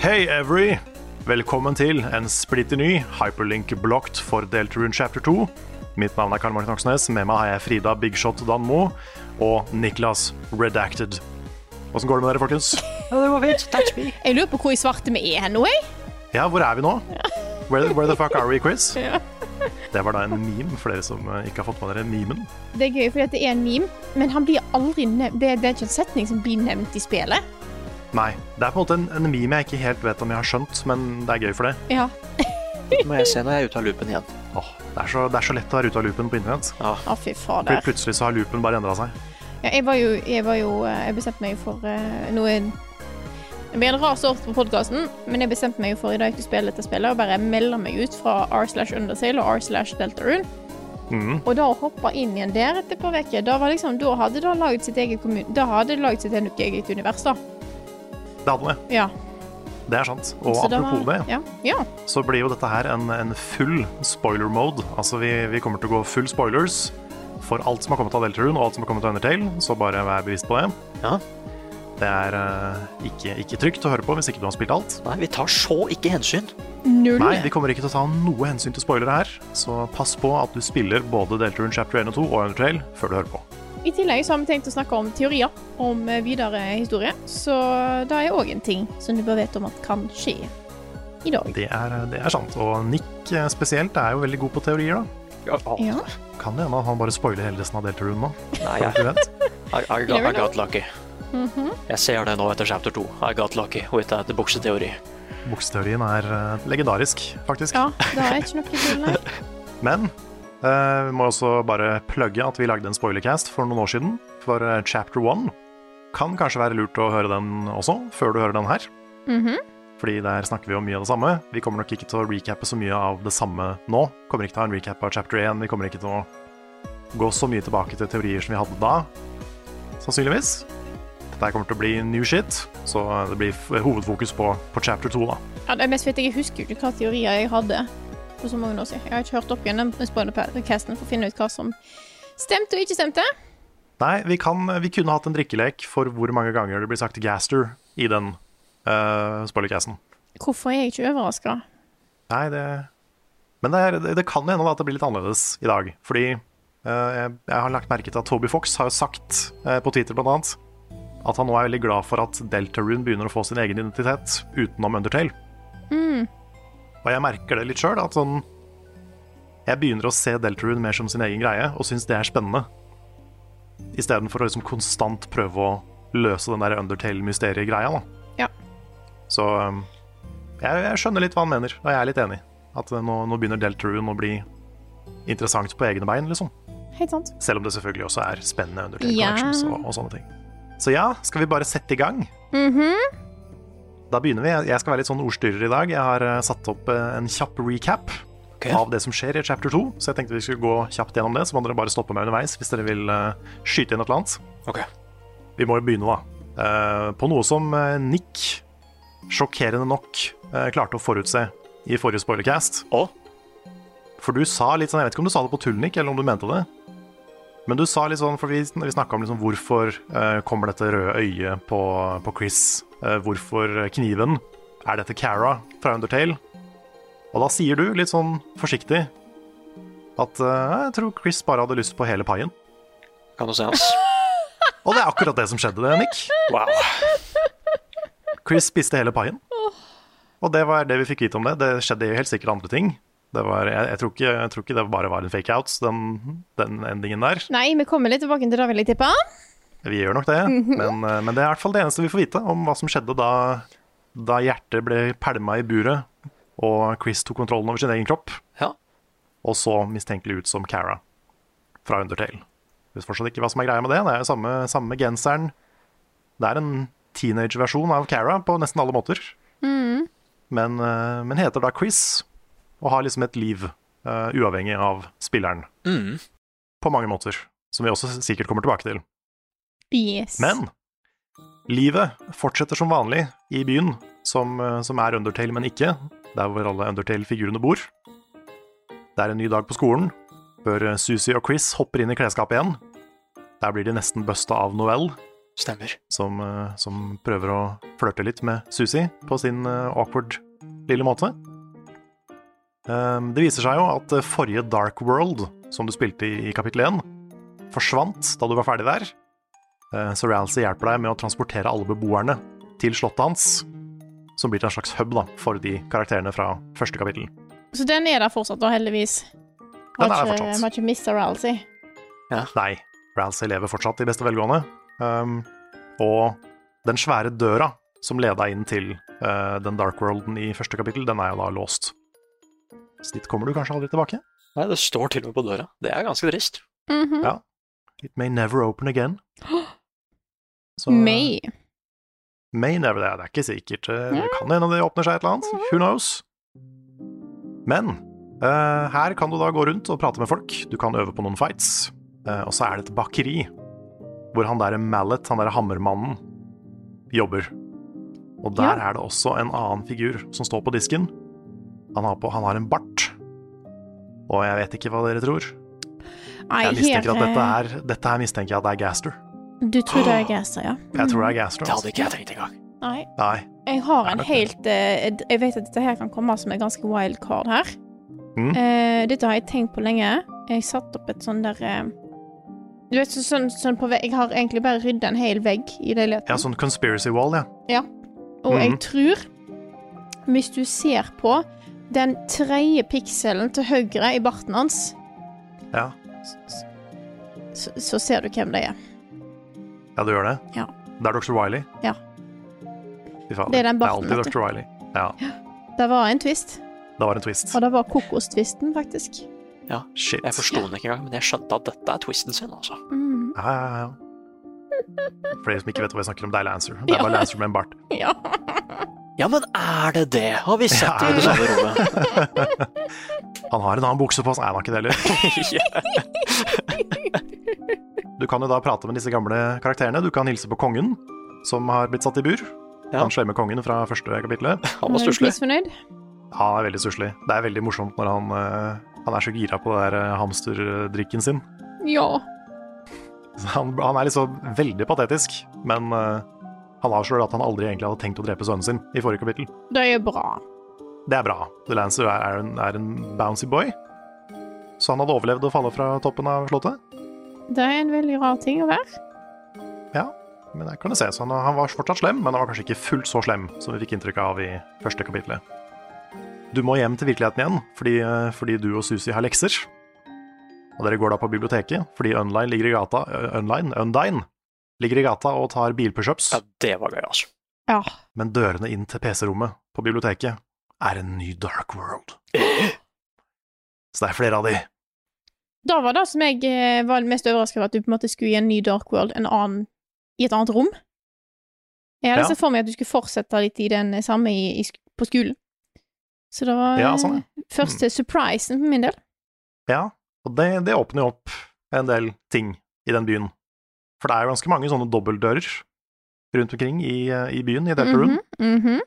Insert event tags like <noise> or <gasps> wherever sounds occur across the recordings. Hei, Every! Velkommen til en splitter ny hyperlink blocked for Delta Rune chapter 2. Mitt navn er Karl Martin Oksnes. Med meg har jeg Frida Bigshot Danmo og Niklas Redacted. Åssen går det med dere, folkens? Jeg lurer på hvor i svarte vi er nå, jeg. Ja, hvor er vi nå? Where, where the fuck are we, quiz? Det var da en meme for dere som eh, ikke har fått med dere memen. Det er gøy fordi at det er en meme, men han blir aldri nevnt. Det, det er ikke en setning som blir nevnt i spillet. Nei. Det er på en måte en, en meme jeg ikke helt vet om jeg har skjønt, men det er gøy for det. Ja. Må jeg se når jeg er ute av loopen igjen. Åh, det, er så, det er så lett å være ute av loopen på internett. Å, fy Plut- fader. Plutselig så har loopen bare endra seg. Ja, jeg var jo Jeg, var jo, eh, jeg bestemte meg jo for eh, noe Det blir en rar sort på podkasten, men jeg bestemte meg jo for i dag til å spille dette spillet og bare melde meg ut fra R slash Undersail og R slash Deltarune. Mhm. Og da å hoppe inn igjen der etter et par uker, da, var liksom, da hadde det laget sitt eget kommun... Da hadde det laget sitt eget univers, da. Det hadde det. Ja. Det er sant. Og Så da var- apropos det, Ja. ja. så blir jo dette her en, en full spoiler mode. Altså vi, vi kommer til å gå full spoilers for alt som har kommet av Deltarune og alt som har kommet av Undertale, så bare vær bevisst på det. Ja. Det er eh, ikke, ikke trygt å høre på hvis ikke du har spilt alt. Nei, vi tar så ikke hensyn. Null. Nei, vi kommer ikke til å ta noe hensyn til spoilere her, så pass på at du spiller både Deltarune chapter 1 og 2 og Undertale før du hører på. I tillegg så har vi tenkt å snakke om teorier om eh, videre historie, så det er òg en ting som du bør vite om at kan skje i dag. Det er, det er sant. Og Nick eh, spesielt er jo veldig god på teorier, da. Ja. Kan det hende at han bare spoiler hele resten av Deltarune nå? Nei, for jeg, alt vi vet. I, I, got, I got lucky. Jeg ser det nå etter chapter 2. I got lucky with that bukseteori. Bukseteorien er eh, legendarisk, faktisk. ja, det er ikke noe tvil, nei. Men eh, vi må også bare plugge at vi lagde en spoilercast for noen år siden. For eh, chapter one kan kanskje være lurt å høre den også, før du hører den her. Mhm. Fordi der snakker vi om mye av det samme. Vi kommer nok ikke til å recappe så mye av det samme nå. Kommer ikke til å ha en recap av chapter 1. Vi kommer ikke til å gå så mye tilbake til teorier som vi hadde da, sannsynligvis. Dette her kommer til å bli new shit, så det blir f- hovedfokus på, på chapter 2, da. Ja, det er mest fordi jeg husker jo ikke hva teorier jeg hadde for så mange år siden. Jeg har ikke hørt opp igjen den spoilercasten for å finne ut hva som stemte og ikke stemte. Nei, vi, kan, vi kunne hatt en drikkelek for hvor mange ganger det blir sagt 'gaster' i den uh, spoilercasten. Hvorfor er jeg ikke overraska? Nei, det Men det, er, det kan hende da at det blir litt annerledes i dag. Fordi eh, jeg, jeg har lagt merke til at Toby Fox har jo sagt eh, på Twitter blant annet at han nå er veldig glad for at Deltarune begynner å få sin egen identitet utenom Undertale. Og jeg merker det litt sjøl, at sånn Jeg begynner å se Deltarune mer som sin egen greie, og syns det er spennende. Istedenfor å liksom konstant prøve å løse den der Undertale-mysteriet-greia, da. Ja. Så eh, jeg, jeg skjønner litt hva han mener, og jeg er litt enig. At nå, nå begynner Deltarune å bli interessant på egne bein, liksom. Helt sant. Selv om det selvfølgelig også er spennende Undertale Ja. Collections og, og sånne ting. Så ja, skal vi bare sette i gang? Mhm. Da begynner vi. Jeg skal være litt sånn ordstyrer i dag. Jeg har eh, satt opp eh, en kjapp recap Ok. av det som skjer i chapter 2, så jeg tenkte vi skulle gå kjapt gjennom det, så må dere bare stoppe meg underveis hvis dere vil eh, skyte inn et eller annet. Ok. Vi må jo begynne, da. Eh, på noe som eh, Nick sjokkerende nok eh, klarte å forutse i forrige spoilercast. Å? For du sa litt sånn, jeg vet ikke om du sa det på tull, Nick, eller om du mente det. Men du sa litt sånn, for vi, vi snakka om liksom hvorfor eh, kommer dette røde øyet på, på Chris? Eh, hvorfor kniven? Er dette Cara fra Undertale? Og da sier du, litt sånn forsiktig, at eh, jeg tror Chris bare hadde lyst på hele paien. Kan du se hans? Og det er akkurat det som skjedde, det, Nick. Wow. Chris spiste hele paien. Og det var det vi fikk vite om det. Det skjedde helt sikkert andre ting. Det var, jeg, jeg, tror ikke, jeg tror ikke det bare var en fake-out, den, den endingen der. Nei, vi kommer litt tilbake til det, vil jeg tippe. Vi gjør nok det, men, eh, men det er i hvert fall det eneste vi får vite om hva som skjedde da, da hjertet ble pælma i buret Og Chris tok kontrollen over sin egen kropp, Ja. og så mistenkelig ut som Cara fra Undertale. Jeg vet fortsatt ikke hva som er greia med det. Det er jo samme, samme genseren. Det er en teenage-versjon av Cara på nesten alle måter. Men, eh, men heter da Chris og har liksom et liv eh, uavhengig av spilleren. Mm. På mange måter. Som vi også sikkert kommer tilbake til. Yes. Men livet fortsetter som vanlig i byen, som, eh, som er Undertale, men ikke. Der hvor alle Undertale-figurene bor. Det er en ny dag på skolen, før eh, Susie og Chris hopper inn i klesskapet igjen. Der blir de nesten busta av Noelle, Stemmer. som, eh, som prøver å flørte litt med Susie på sin eh, awkward lille måte. Ehm, Det viser seg jo at eh, forrige Dark World, som du spilte i i kapittel 1, forsvant da du var ferdig der. Eh, Så Ralsei hjelper deg med å transportere alle beboerne til slottet hans, som blir til en slags hub da, for de karakterene fra første kapittel. Så den er der fortsatt, da, heldigvis. Den er der ikke, fortsatt. Har ikke altså. mista Ralsei. Nei, Ralsei lever fortsatt i beste velgående. Ehm, og den svære døra som leda inn til eh, den dark worlden i første kapittel, den er jo da låst. Så dit kommer du kanskje aldri tilbake? Nei, det står til og med på døra. Det er ganske trist. Mhm. Ja. It may never open again. Så- May. May never det. Det er ikke sikkert. Eh, Det Ja. kan hende det åpner seg et eller annet. Who knows? Men eh, her kan du da gå rundt og prate med folk. Du kan øve på noen fights. Eh, og så er det et bakeri hvor han derre Mallet, han derre hammermannen, jobber. Og der er det også en annen figur som står på disken. Han har, på, han har en bart. Og jeg vet ikke hva dere tror. Nei, eh, Jeg mistenker at her, dette er, dette her mistenker jeg at det er Gaster. Du tror det er Ah. gasser, ja. Jeg tror det er Gaster. Det hadde Altså. ikke jeg tenkt engang. Nei. Nei. Jeg har en Ja, ok. helt eh, d- Jeg vet at dette her kan komme som et ganske wild card her. Mm. Eh, dette har jeg tenkt på lenge. Jeg satt opp et sånn der eh, Du vet, så, sånn, sånn på vegg Jeg har egentlig bare rydda en hel vegg i leiligheten. Ja, sånn conspiracy wall, ja. Og jeg Mhm. tror, hvis du ser på den tredje pikselen til høyre i barten hans, ja. så, så ser du hvem det er. Ja, du gjør det? Ja. Det er Dr. Wiley? Ja. Fy faen. Det er den barten, Det er vet alltid du. Dr. Wiley. Ja, Det var en twist, det var en twist. og det var kokostvisten, faktisk. <laughs> Shit. Jeg forsto den ikke engang, men jeg skjønte at dette er twisten sin, altså. Mhm. Ja, ja, ja. For de som ikke vet hva vi snakker om, det er Lancer. Det er Ja. bare Lancer med en bart. Ja. Ja, men er det det? Har vi sett det i det Ja. samme rommet? Han har en annen bukse på seg. Nei, han har ikke det <laughs> heller. ja. Du kan jo da prate med disse gamle karakterene. Du kan hilse på kongen, som har blitt satt i bur. Ja. Han slemme kongen fra første kapittelet. Han var stusslig. Misfornøyd? Han er veldig stusslig. Det er veldig morsomt når han, eh, han er så gira på det der eh, hamsterdrikken sin. Ja. Så Han, han er liksom veldig patetisk, men eh, han avslører at han aldri egentlig hadde tenkt å drepe sønnen sin i forrige kapittel. Det er jo bra. Det er bra. The Lancer er, er, en, er en bouncy boy, så han hadde overlevd å falle fra toppen av slottet. Det er en veldig rar ting å være. Ja, men jeg kan det se. Så han, han var fortsatt slem, men han var kanskje ikke fullt så slem som vi fikk inntrykk av i første kapittelet. Du må hjem til virkeligheten igjen, fordi, eh, fordi du og Susi har lekser. Og dere går da på biblioteket, fordi Unline ligger i gata Ø- Unline, Undine ligger i gata og tar bilpushups. Ja, det var gøy, <gasps> altså. Ja. men dørene inn til PC-rommet på biblioteket er en ny dark world. Så det er flere av de. Da var det som jeg eh, var mest overrasket over, at du på en måte skulle i en ny Dark World en annen, i et annet rom. Jeg hadde Ja. sett for meg at du skulle fortsette litt i den eh, samme i, i, sk- på skolen. Så det var Ja, sånn, ja. eh, første surprisen for min del. Ja, og det, det åpner jo opp en del ting i den byen. For det er jo ganske mange sånne dobbeltdører rundt omkring i, i byen, i Delta Room. Mhm, mhm.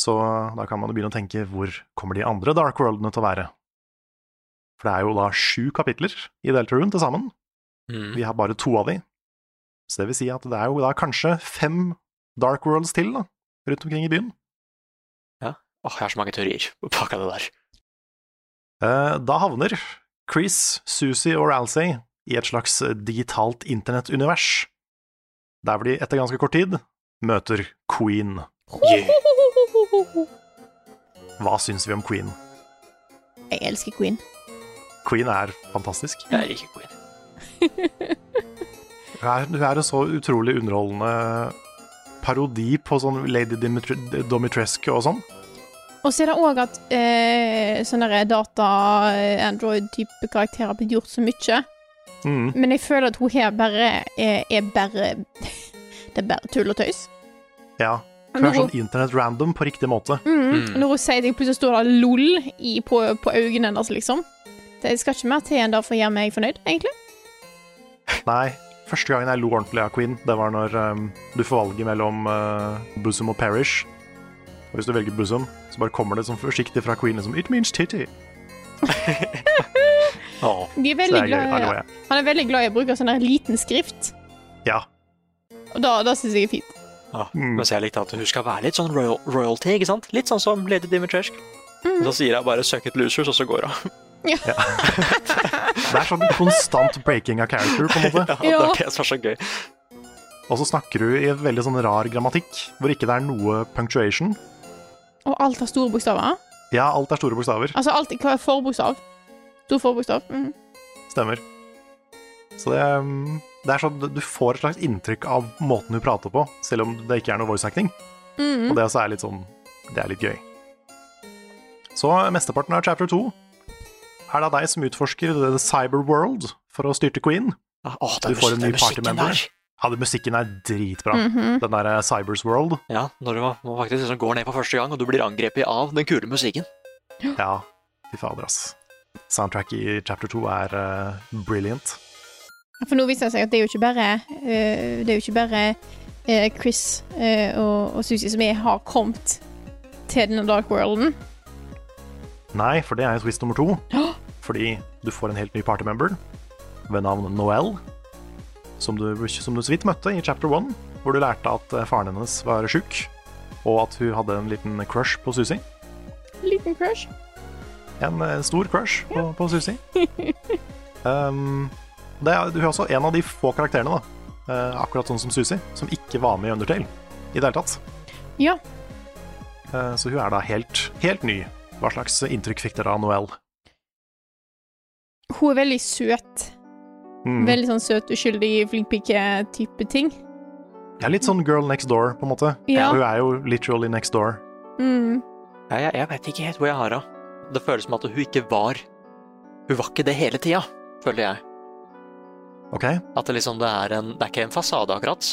Så da kan man jo begynne å tenke hvor kommer de andre dark worldene til å være? For det er jo da sju kapitler i Delta Room til sammen. Mm. Vi har bare to av de. Så det vil si at det er jo da kanskje fem dark worlds til da, rundt omkring i byen. Åh, jeg har så mange teorier bak av det der. Eh, Da havner Chris, Susie og Ralsei i et slags digitalt internettunivers, der hvor de etter ganske kort tid møter Queen. Yeah. Hva syns vi om Queen? Jeg elsker Queen. Queen er fantastisk. Jeg er ikke queen. Hun er, hun er en så utrolig underholdende parodi på sånn Lady Dimitri Domitrescu og sånn. Og så er det òg at eh, sånne der data-android-type karakterer har blitt gjort så mye. Mm. Men jeg føler at hun her bare er, er bare <laughs> Det er bare tull og tøys. Ja. Hun Når er hun, sånn internett-random på riktig måte. mm, når hun sier ting, plutselig står det LOL i, på, på øynene hennes, liksom. Det skal ikke mer til enn det for å gjøre meg fornøyd, egentlig. Nei, første gangen jeg lo ordentlig av Queen, det var når ehm, du får valget mellom uh, Bosom og Parish. Og hvis du velger Bosom, så bare kommer det sånn forsiktig fra Queen liksom It means titty. Åh. De Så det er veldig er gøy. Der glad, lo i- jeg. han er veldig glad i å bruke sånn der liten skrift, Ja. og da, da syns jeg er fint. Ja, Mm. Mens jeg likte at hun skal være litt sånn royal, royalty, ikke sant? Litt sånn som Lady Dimitrescu. Og Så sier jeg bare 'suck it, losers', og så går hun. <laughs> Det er sånn konstant breaking av character, på <laughs> en måte. Ja, det Ja. er det som er så gøy. Og så snakker du i en veldig sånn rar grammatikk, hvor ikke det er noe punctuation. Og alt har store bokstaver. Ja, alt er store bokstaver. Altså alt hva er forbokstav. Stor forbokstav. Mm. Stemmer. Så det, ehm, det er sånn du får et slags inntrykk av måten hun prater på, selv om det ikke er noe voice acting. Mm. Og det også er litt sånn Det er litt gøy. Så mesteparten av chapter 2 er det deg som utforsker The Cyber World for å styrte Queen. Ja, Åh, Du den får en mus- den ny musikken partymember. der. Ja, den musikken er dritbra. Den derre Cybers World. Ja, når du må, må faktisk liksom går ned for første gang, og du blir angrepet av den kule musikken. Ja, fy fader, ass. Soundtracket i chapter 2 er eh, brilliant. For nå viser det seg at det er jo ikke bare eh, Det er jo ikke bare eh, Chris eh, og, og Susie som er, har kommet til denne dark worlden. Nei, for det er jo twist nummer to. Fordi du får en helt ny partymember ved navn Noelle. Som du, som du så vidt møtte i chapter one, hvor du lærte at eh, faren hennes var sjuk, og at hun hadde en liten crush på Susi. Liten crush. En eh, stor crush på, på Susi. um, det er, hun er også en av de få karakterene, da, eh, akkurat sånn som Susi, som ikke var med i Undertale i det hele tatt. Ja. Eh, så hun er da helt, helt ny. Hva slags inntrykk fikk dere av Noelle? Hun er veldig søt. Mm. Veldig sånn søt, uskyldig, flink pike-type ting. Det er litt sånn girl next door, på en måte. Ja. Hun er jo literally next door. Mm. Ja, jeg, jeg vet ikke helt hvor jeg har henne. Det føles som at hun ikke var Hun var ikke det hele tida, føler jeg. Ok? At det liksom det er en Det er ikke en fasade, akkurat.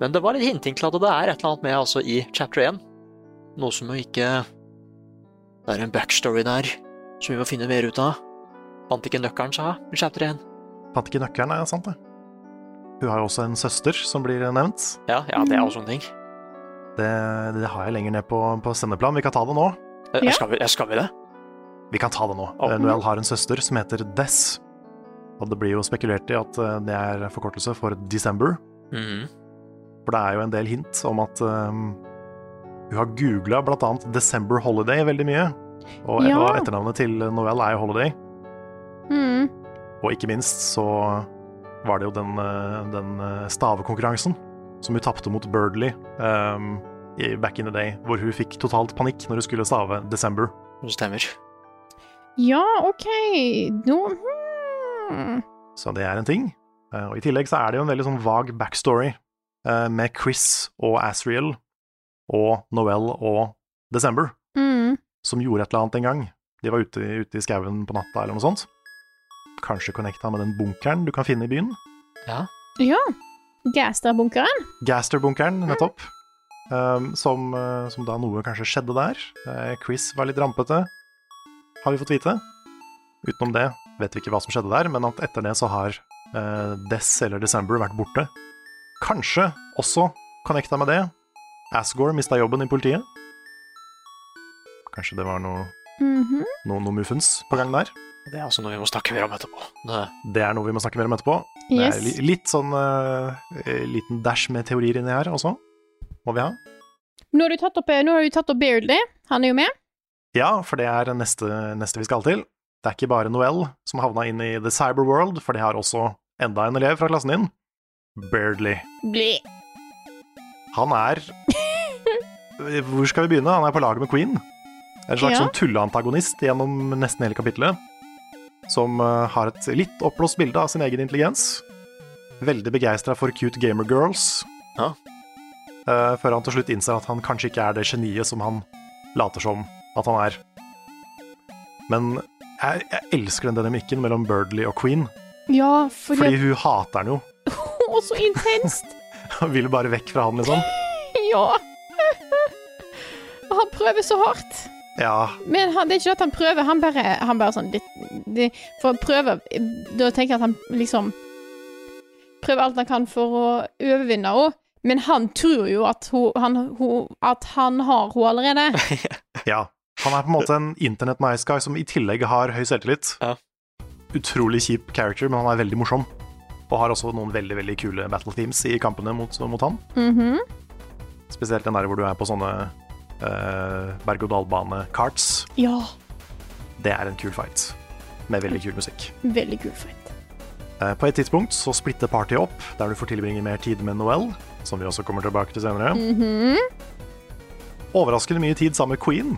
Men det var litt hinting til at det er et eller annet med altså i chapter 1. Noe som jo ikke Det er en backstory der som vi må finne mer ut av. Fant ikke nøkkelen, sa jeg, i chapter 1. Fant ikke nøkkelen, er sant det? Hun har jo også en søster som blir nevnt. Ja, ja, det er også en ting. Det, det har jeg lenger ned på, på sendeplan. Vi kan ta det nå. Eh, Ja. Skal, vi, eh, skal vi det? Vi kan ta det nå. Å. Eh, Noelle har en søster som heter Dess. Og det blir jo spekulert i at eh, det er forkortelse for December. Mhm. For det er jo en del hint om at eh, hun har googla bl.a. December Holiday veldig mye. Og et- Ja. og etternavnet til Noelle er jo Holiday. Mm. Og ikke minst så var det jo den, eh, den eh, stavekonkurransen som hun tapte mot Birdley ehm, i back in the day, hvor hun fikk totalt panikk når hun skulle stave December. Det stemmer. Ja, OK. Nå hmm. Så det er en ting. Eh, og i tillegg så er det jo en veldig sånn vag backstory eh, med Chris og Asriel og Noel og December, Mm. som gjorde et eller annet en gang. De var ute, ute i skauen på natta eller noe sånt. Kanskje connecta med den bunkeren du kan finne i byen. Ja. Ja. Gaster-bunkeren. Gaster-bunkeren, nettopp. Um, som, eh, som da noe kanskje skjedde der. Eh, Chris var litt rampete, har vi fått vite. Utenom det vet vi ikke hva som skjedde der, men at etter det så har eh, Dess eller December vært borte. Kanskje også connecta med det. Asgore mista jobben i politiet. Kanskje det var noe, Mhm. noe, noe muffens på gang der. Det er også noe vi må snakke mer om etterpå. Det, Det er noe vi må snakke mer om etterpå. Det Yes. er li litt sånn eh, liten dash med teorier inni her også, må vi ha. Nå har du tatt opp, eh, nå har du tatt opp Beardley. Han er jo med. Ja, for det er neste, neste vi skal til. Det er ikke bare Noel som havna inn i The Cyber World, for de har også enda en elev fra klassen din. Bairdley. Ble. Han er Hvor skal vi begynne? Han er på lag med Queen. En slags Ja. sånn tulleantagonist gjennom nesten hele kapittelet. Som eh, har et litt oppblåst bilde av sin egen intelligens. Veldig begeistra for cute gamer girls. Ja. Eh, før han til slutt innser at han kanskje ikke er det geniet som han later som at han er. Men jeg, jeg elsker den dynamikken mellom Birdley og Queen, Ja, fordi, fordi hun hater han jo. <laughs> <laughs> Å, så intenst! <laughs> Hun vil bare vekk fra han, liksom. ja. Og han prøver så hardt. Ja, Men han, det er ikke det at han prøver, han bare, han bare sånn litt det, For å prøve Da tenker jeg at han liksom Prøver alt han kan for å overvinne henne. Men han tror jo at, hun, han, hun, at han har henne allerede. <laughs> ja. Han er på en måte en internett-nice guy som i tillegg har høy selvtillit. Ja. Utrolig kjip character, men han er veldig morsom. Og har også noen veldig veldig kule battle teams i kampene mot, mot han. Mhm. Spesielt den der hvor du er på sånne eh, berg-og-dal-bane-karts. Ja. Det er en kul fight, med veldig kul musikk. Veldig kul fight. Eh, På et tidspunkt så splitter partiet opp, der du får tilbringe mer tid med Noel, som vi også kommer tilbake til senere. Overraskende mye tid sammen med Queen,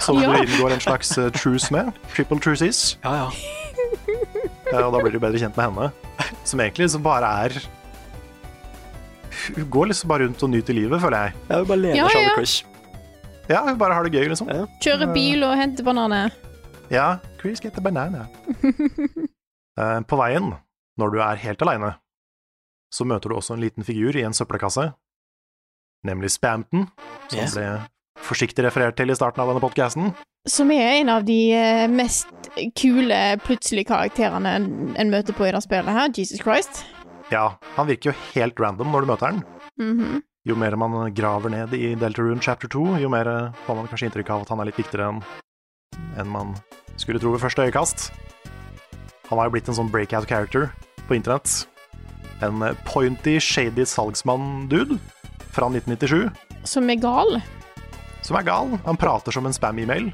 som Ja. du inngår en slags eh, truce med. Triple truces. Ja, ja. eh, Og da blir du bedre kjent med henne, som egentlig liksom bare er Hun går liksom bare rundt og nyter livet, føler jeg. Jeg vil bare lene Ja, seg over ja. Chris. Ja, hun bare har det gøy, liksom. Ja. Kjører bil og henter bananer. Ja, Chris get the banana. Eh, På veien, når du er helt aleine, så møter du også en liten figur i en søppelkasse, nemlig Spamton, som Yes. ble forsiktig referert til i starten av denne podkasten. Som er en av de eh, mest kule plutselige karakterene en, en møter på i det spillet her. Jesus Christ. Ja, han virker jo helt random når du møter han. Mhm. Jo mer man graver ned i Deltarune chapter 2, jo mer eh, får man kanskje inntrykk av at han er litt viktigere enn enn man skulle tro ved første øyekast. Han har jo blitt en sånn breakout character på internett. En eh, pointy, shady salgsmann-dude fra 1997 Som er gal. som er gal. Han prater som en spam-email.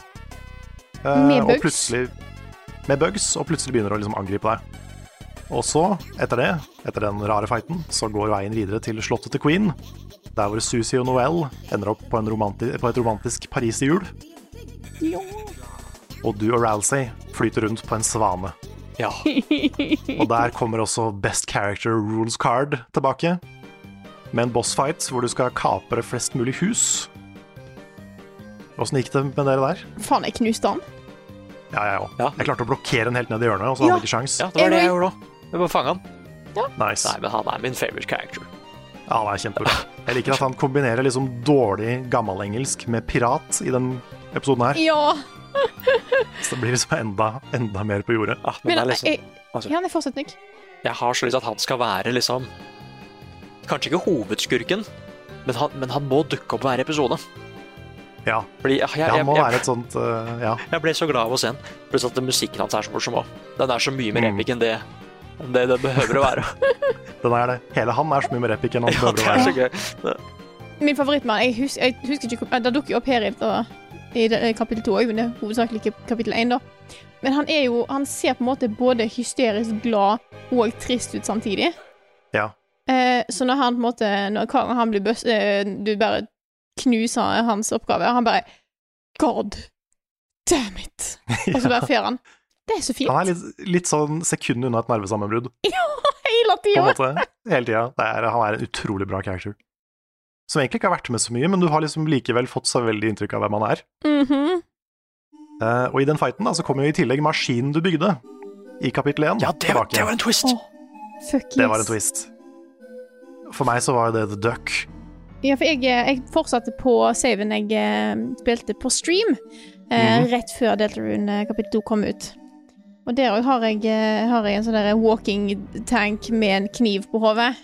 Eh, Med og bugs? plutselig Med bugs, og plutselig begynner å liksom angripe deg. Og så, etter det, etter den rare fighten, så går veien videre til slottet til Queen, der hvor Susi og Noel ender opp på, en romanti på et romantisk pariserhjul, Ja. og du og Ralsei flyter rundt på en svane. ja. Og der kommer også Best Character Rules Card tilbake, med en bossfight hvor du skal kapre flest mulig hus. Åssen gikk det med dere der? Faen, jeg knuste han. Ja, jeg òg. Ja. Jeg klarte å blokkere den helt ned i hjørnet, og så hadde Ja. jeg ikke sjans. ja, det var det jeg gjorde òg. Jeg bare fanga han. Nice. Nei, men han er min favorite character. Ja, han er kjempebra. Jeg liker at han kombinerer liksom dårlig gammelengelsk med pirat i den episoden her. Ja. Så det blir liksom enda, enda mer på jordet. Ah, men Men det er liksom, jeg, ja, han er fortsatt Nick. jeg har så lyst til at han skal være liksom Kanskje ikke hovedskurken, men han, men han må dukke opp hver episode. Ja. Fordi jeg, jeg, ja han jeg, må jeg, være et sånt eh, Ja. jeg ble så glad av å se han. Pluss at musikken hans er så morsom òg. Den er så mye mer Mm. epic enn det enn det, det behøver å <laughs> være. Den er det. Hele han er så mye mer epic enn han ja, behøver det å er være. så gøy. Min favorittmann. Jeg, hus, jeg husker ikke hvor- eh, Det dukker jo opp her i, da, i det- kapittel to òg, men det er hovedsakelig ikke kapittel én, da. Men han er jo Han ser på en måte både hysterisk glad og trist ut samtidig. Ja. Eh, så når han på en måte Når Karen han blir bøss... Eh, du bare knuser hans oppgave, og han bare God damn it! Og <laughs> så bare fer han. Det er så fint. Han er litt, litt sånn sekund unna et nervesammenbrudd, <laughs> Hele på en tida. måte. Hele tida. Det er- Han er en utrolig bra character. Som egentlig ikke har vært med så mye, men du har liksom likevel fått så veldig inntrykk av hvem han er. Mhm. Eh, og i den fighten da, så kom jo i tillegg maskinen du bygde i kapittel 1 Ja, det, tilbake. det var en <laughs> twist! Åh, Fuck yes. Det var en twist. For meg så var jo det The Duck. Ja, for jeg, eh, jeg fortsatte på saven jeg eh, spilte på stream Mhm. eh, rett før Deltarune eh, kapittel 2 kom ut. Og der òg har, jeg, eh, har jeg en sånn der walking tank med en kniv på hodet.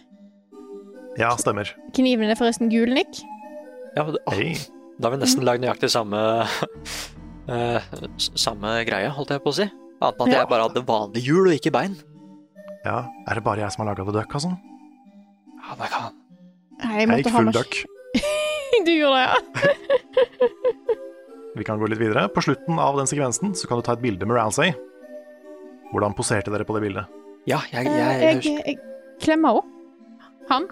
Ja, stemmer. Kniven er forresten gul, Nick. Ja, men det, åh, Hei. Da har vi nesten lagd nøyaktig samme <laughs> eh, s- Samme greie, holdt jeg på å si. Annet enn at jeg bare hadde vanlig hjul og ikke bein. Ja, er det bare jeg som har laga The Duck, altså? Ja, det kan Nei, Jeg måtte gikk ha full mas- duck. <laughs> du gjorde det, ja? Vi kan gå litt videre. På slutten av den sekvensen så kan du ta et bilde med Ransay. Hvordan poserte dere på det bildet? Ja, jeg, Eh, jeg, Jeg, husker jeg, klemmer òg. Han.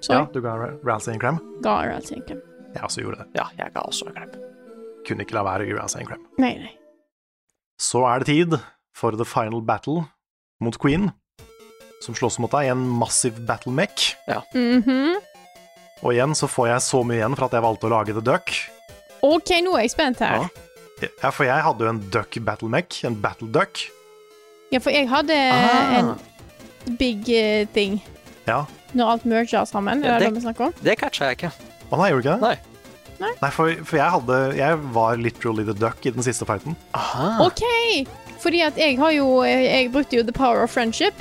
Så Ja, jeg du ga Ransay en klem? ga her altså en klem. Jeg også gjorde det. Ja, jeg ga også en klem. Kunne ikke la være å gi Ransay en klem. Nei, nei. Så er det tid for the final battle mot Queen, som slåss mot deg i en massiv battle mech. Mhm. Og igjen så får jeg så mye igjen for at jeg valgte å lage The Duck. OK, nå er jeg spent her. Ja. Ja, for jeg hadde jo en duck battle mech, en battle duck. Ja, for jeg hadde Ah. en big eh, thing Ja. når alt merger sammen. Ja, Er det det- det vi snakker om? Det catcha jeg ikke. Å nei, gjorde du ikke det? Nei. Nei, for, for jeg hadde Jeg var literally the duck i den siste fighten. Aha. OK! Fordi at jeg har jo eh, Jeg brukte jo the power of friendship.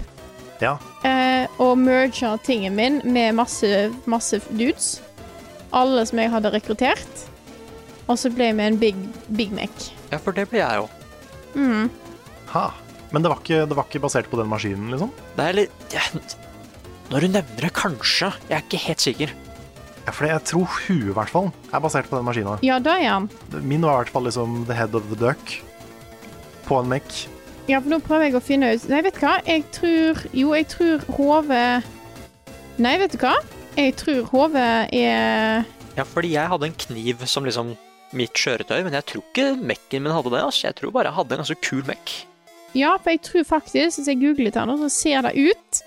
Ja. Eh, og merger tingen min med masse, masse dudes. Alle som jeg hadde rekruttert. Og så ble jeg med en big, big Mac. Ja, for det blir jeg jo. Mm. Ha. Men det var, ikke, det var ikke basert på den maskinen, liksom? Det er litt ja, Når du nevner det, kanskje. Jeg er ikke helt sikker. Ja, for jeg tror huet i hvert fall er basert på den maskina. Ja, da er han. Min var i hvert fall liksom the head of the duck på en mech. Ja, for nå prøver jeg å finne ut Nei, vet du hva? Jeg tror Jo, jeg tror hodet Nei, vet du hva? Jeg tror hodet er Ja, fordi jeg hadde en kniv som liksom mitt kjøretøy, men jeg tror ikke mekken min hadde det. Altså. Jeg tror bare jeg hadde en ganske kul mekk. Ja, for jeg tror faktisk, hvis jeg googler litt her nå, så ser det ut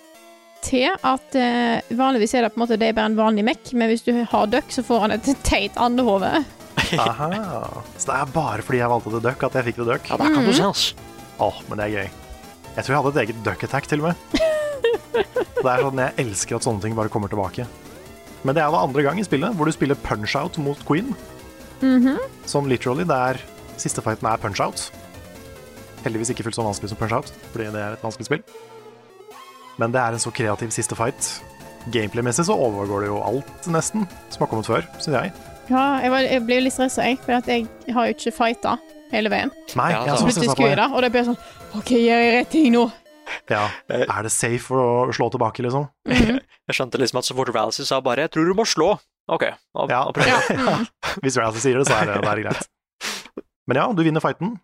til at eh, vanligvis er det på en måte det er bare en vanlig Mac, men hvis du har duck, så får han et <laughs> teit andehode. Aha. Så det er bare fordi jeg valgte the duck at jeg fikk the duck. Ja, der kan du se, altså. Åh, men det er gøy. Jeg tror jeg hadde et eget duck attack til <laughs> og med. Det er sånn, Jeg elsker at sånne ting bare kommer tilbake. Men det er da andre gang i spillet hvor du spiller punch-out mot queen. Mhm. Som literally, det er Siste fighten er punch-out. Heldigvis ikke fullt så vanskelig som punch-out, fordi det er et vanskelig spill. Men det er en så kreativ siste fight. Gameplay-messig så overgår det jo alt, nesten, som har kommet før, syns jeg. Ja, jeg, var, jeg ble jo litt stressa, jeg, for at jeg har jo ikke fighta hele veien. Nei, Ja, altså, jeg sant. så Plutselig skulle jeg det, og det ble sånn OK, gjør jeg rett ting nå? <laughs> Ja. Er det safe å slå tilbake, liksom? Jeg skjønte liksom at så fort Ralsey sa bare 'jeg tror du må slå', OK, da, <laughs> Ja. da prøver jeg. Hvis Ralph sier det, så er det, det er greit. Men ja, du vinner fighten.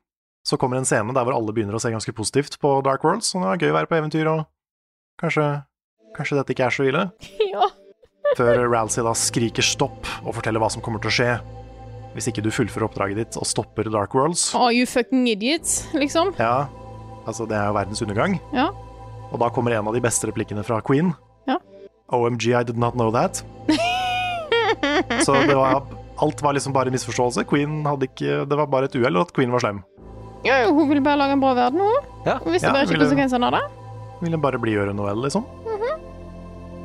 Så kommer en scene der hvor alle begynner å se ganske positivt på Dark Worlds. Så det var gøy å være på eventyr, og kanskje, kanskje dette ikke er så ille. Ja. Før Ralsey da skriker stopp og forteller hva som kommer til å skje hvis ikke du fullfører oppdraget ditt og stopper Dark Worlds. Are you fucking idiots, liksom? Ja, altså det er jo verdens undergang. Ja. Og da kommer en av de beste replikkene fra Queen. Ja. OMG, I did not know <laughs> that. Så det var, alt var liksom bare en misforståelse. Queen hadde ikke, det var bare et uhell at Queen var slem. Ja, ja, hun vil bare lage en bra verden, hun. Ja. Og hvis Ja, det bare ikke ville- er konsekvensene av det. Ville bare bli gjøre noe, liksom. Mhm.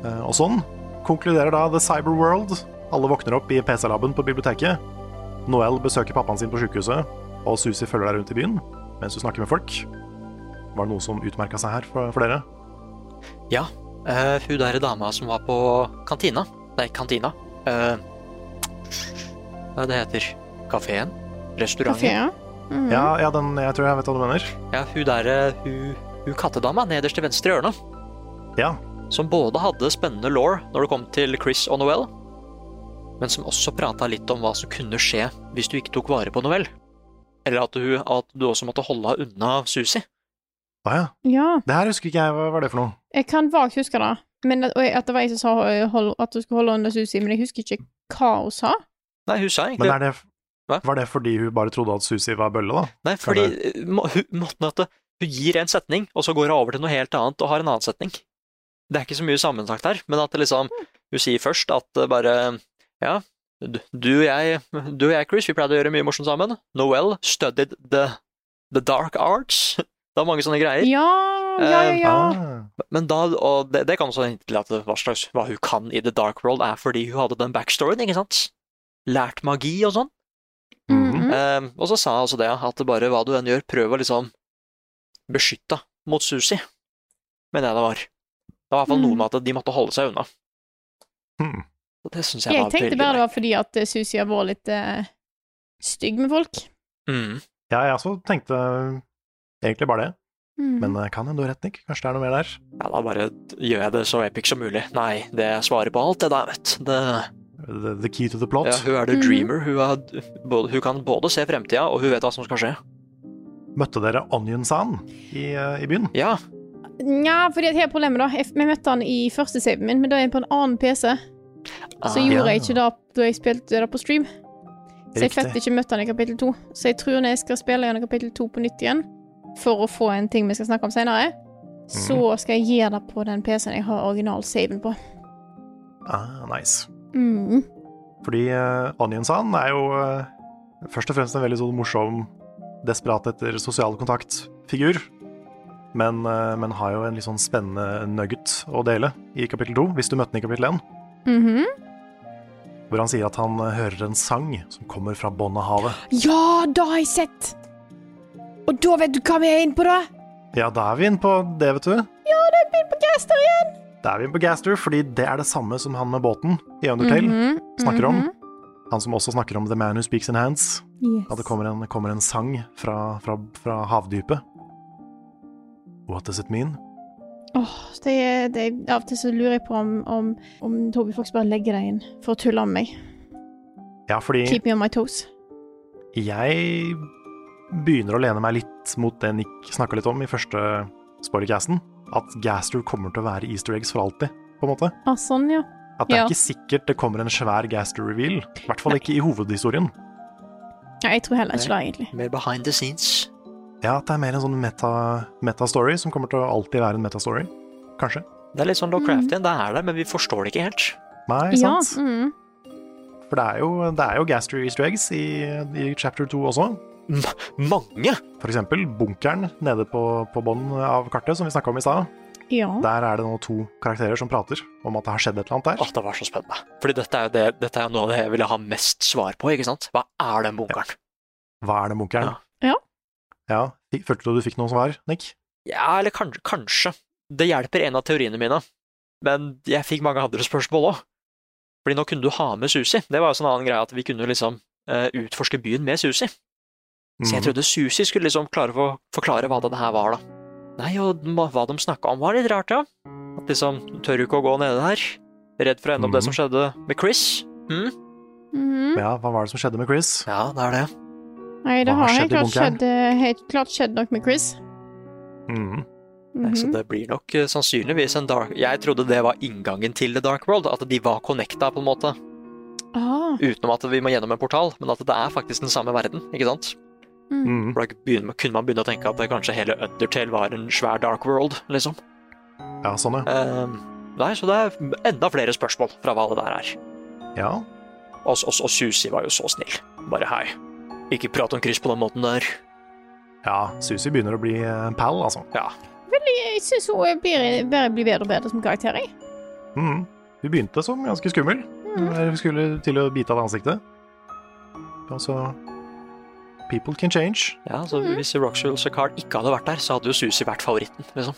Eh, Og sånn konkluderer da The Cyber World. Alle våkner opp i PC-laben på biblioteket. Noel besøker pappaen sin på sykehuset, og Susi følger deg rundt i byen mens du snakker med folk. Var det noe som utmerka seg her for, for dere? Ja, eh, hun der dama som var på kantina. Nei, kantina. Eh, hva er det heter Kafeen? Kafé, Restauranten? ja. Mhm. Ja, ja den, jeg tror jeg vet hva du mener. Ja, hun der, eh, hun, hun kattedama nederst til venstre i hjørnet. Ja. Som både hadde spennende law når det kom til Chris og Noel, men som også prata litt om hva som kunne skje hvis du ikke tok vare på Noel. Eller at du, at du også måtte holde henne unna Susi. Å ja. ja. Det her husker ikke jeg hva var det for noe. Jeg kan vagt huske det. Men at, og jeg- at det var jeg som sa eh, hold, at du skulle holde under Susi, men jeg husker ikke hva hun sa. Nei, hun sa egentlig Men er det, Hva? var det fordi hun bare trodde at Susi var bølle, da? Nei, fordi eh, må- hun, måten at det- hun gir en setning, og så går hun over til noe helt annet og har en annen setning. Det er ikke så mye sammensagt her, men at det liksom Hun sier først at det bare Ja, du du og jeg, du og jeg Chris, vi pleide å gjøre mye morsomt sammen. Noel studied the, the dark arts. <laughs> Det er mange sånne greier. Ja, ja, ja. ja. Eh, Ah. Men da, og det, det kan også hente til at det- hva, slags, hva hun kan i The Dark World, er fordi hun hadde den backstoryen, ikke sant? Lært magi og sånn. Ah. Mhm. Mhm. Eh, og så sa jeg altså det, at det bare hva du enn gjør, prøv å liksom beskytte mot Susi. Men det det var. Det var i hvert fall Mm. noe med at de måtte holde seg unna. Hmm. Og det syns jeg, Jeg var tenkte veldig bare det greit. var fordi at eh, Susi har vært litt eh, stygg med folk. Mm. Ja, jeg også tenkte egentlig bare det. Mhm. Men eh, kan hende du har rett, Nick. Kanskje det er noe mer der. Ja, da bare gjør jeg det så epic som mulig. Nei, det svarer på alt, det der, vet du. Det- The, the key to the plot. Ja, hun er the Mhm. dreamer. Hun, er, både, hun kan både se fremtida, og hun vet hva som skal skje. Møtte dere Onion San i, eh, i byen? Ja, Nja, fordi at her er problemet, da. Jeg, vi møtte han i første saven min, men da er jeg på en annen PC. Så Ah. gjorde Ja. jeg ikke det da jeg spilte det på stream. Så jeg Riktig. fikk ikke møtt han i kapittel to. Så jeg tror når jeg skal spille gjennom kapittel to på nytt igjen, for å få en ting vi skal snakke om seinere, så Mhm. skal jeg gjøre det på den PC-en jeg har original-saven på. Ah, nice. Mm. Fordi eh, Onion San er jo eh, først og fremst en veldig sånn morsom, desperat etter sosial kontakt-figur. Men, eh, men har jo en litt sånn spennende nugget å dele i kapittel to, hvis du møtte den i kapittel én. Mhm. Hvor han sier at han eh, hører en sang som kommer fra bånn av havet. Ja, da har jeg sett! Og da vet du hva vi er inne på, da? Ja, da er vi inne på det, vet du. Ja, da er vi inne på Gaster igjen! Da er vi inne på Gaster, fordi det er det samme som han med båten i Undertale Mhm, snakker om. mhm. Han som også snakker om The Man Who Speaks in Hands. Yes. At det kommer en, kommer en sang fra, fra, fra havdypet. What does it mean? Åh, det, det, av og til så lurer jeg på om, om, om Toby Fox bare legger deg inn for å tulle med meg. Ja, fordi Keep me on my toes. jeg begynner å lene meg litt mot det Nick snakka litt om i første spoilercasten. At Gaster kommer til å være easter eggs for alltid, på en måte. Ah, sånn, ja. At det Ja. er ikke sikkert det kommer en svær Gaster-reveal. I hvert fall ikke i hovedhistorien. ja. Jeg tror heller ikke det, egentlig. Mer behind the scenes. Ja, at det er mer en sånn meta- meta-story som kommer til å alltid være en meta-story. Kanskje. Det er litt sånn Lovecraftian, det er der, men vi forstår det ikke helt. Nei, ja, sant? mm. For det er jo, det er jo Gaster easter eggs i, i chapter 2 også. Mange! For eksempel bunkeren nede på, på bånn av kartet som vi snakka om i stad. ja. Der er det nå to karakterer som prater om at det har skjedd et eller annet der. Åh, det var så spennende. Fordi dette er jo det, dette er jo noe av det jeg ville ha mest svar på, ikke sant? Hva er den bunkeren? Hva er den bunkeren? Ja. Ja, Følte du du fikk noen svar, Nick? Ja, eller kanskje, kanskje. Det hjelper en av teoriene mine. Men jeg fikk mange andre spørsmål òg. Fordi nå kunne du ha med Susi. Det var jo sånn annen greie at vi kunne liksom eh, utforske byen med Susi. Så jeg Mhm. trodde Susi skulle liksom klare å forklare hva det her var, da. Nei, og ma- hva de snakka om var litt rart, ja. At liksom, tør du ikke å gå nede der? Redd for å ende opp det som skjedde med Chris? Mm? Mhm. Ja, hva var det som skjedde med Chris? Ja, det er det. Nei, det Hva har har skjedd helt i klart, bunkeren? skjedd, eh, helt klart skjedd nok med Chris. Mhm. Nei, Mhm. Så det blir nok eh, sannsynligvis en dark Jeg trodde det var inngangen til The Dark World, at de var connecta, på en måte. ah, Utenom at vi må gjennom en portal, men at det er faktisk den samme verden, ikke sant? mm. Mhm. For Da begynner- kunne man begynne å tenke at det kanskje hele Undertale var en svær Dark World, liksom. Ja, sånn, ja. Ehm, nei, så det er enda flere spørsmål fra hva det der er. ja. Og, og, og Susi var jo så snill. Bare hei. Ikke prat om Chris på den måten der. Ja, Susi begynner å bli en pal, altså. Ja. Jeg, jeg syns hun blir, bare blir bedre og bedre som karakter, jeg. Mhm. Hun begynte som ganske skummel. Mm. Hun skulle til å bite av det ansiktet. Og så People can change. ja så Mm. hvis Roxwell og Carl ikke hadde vært der, så hadde jo Susi vært favoritten, liksom.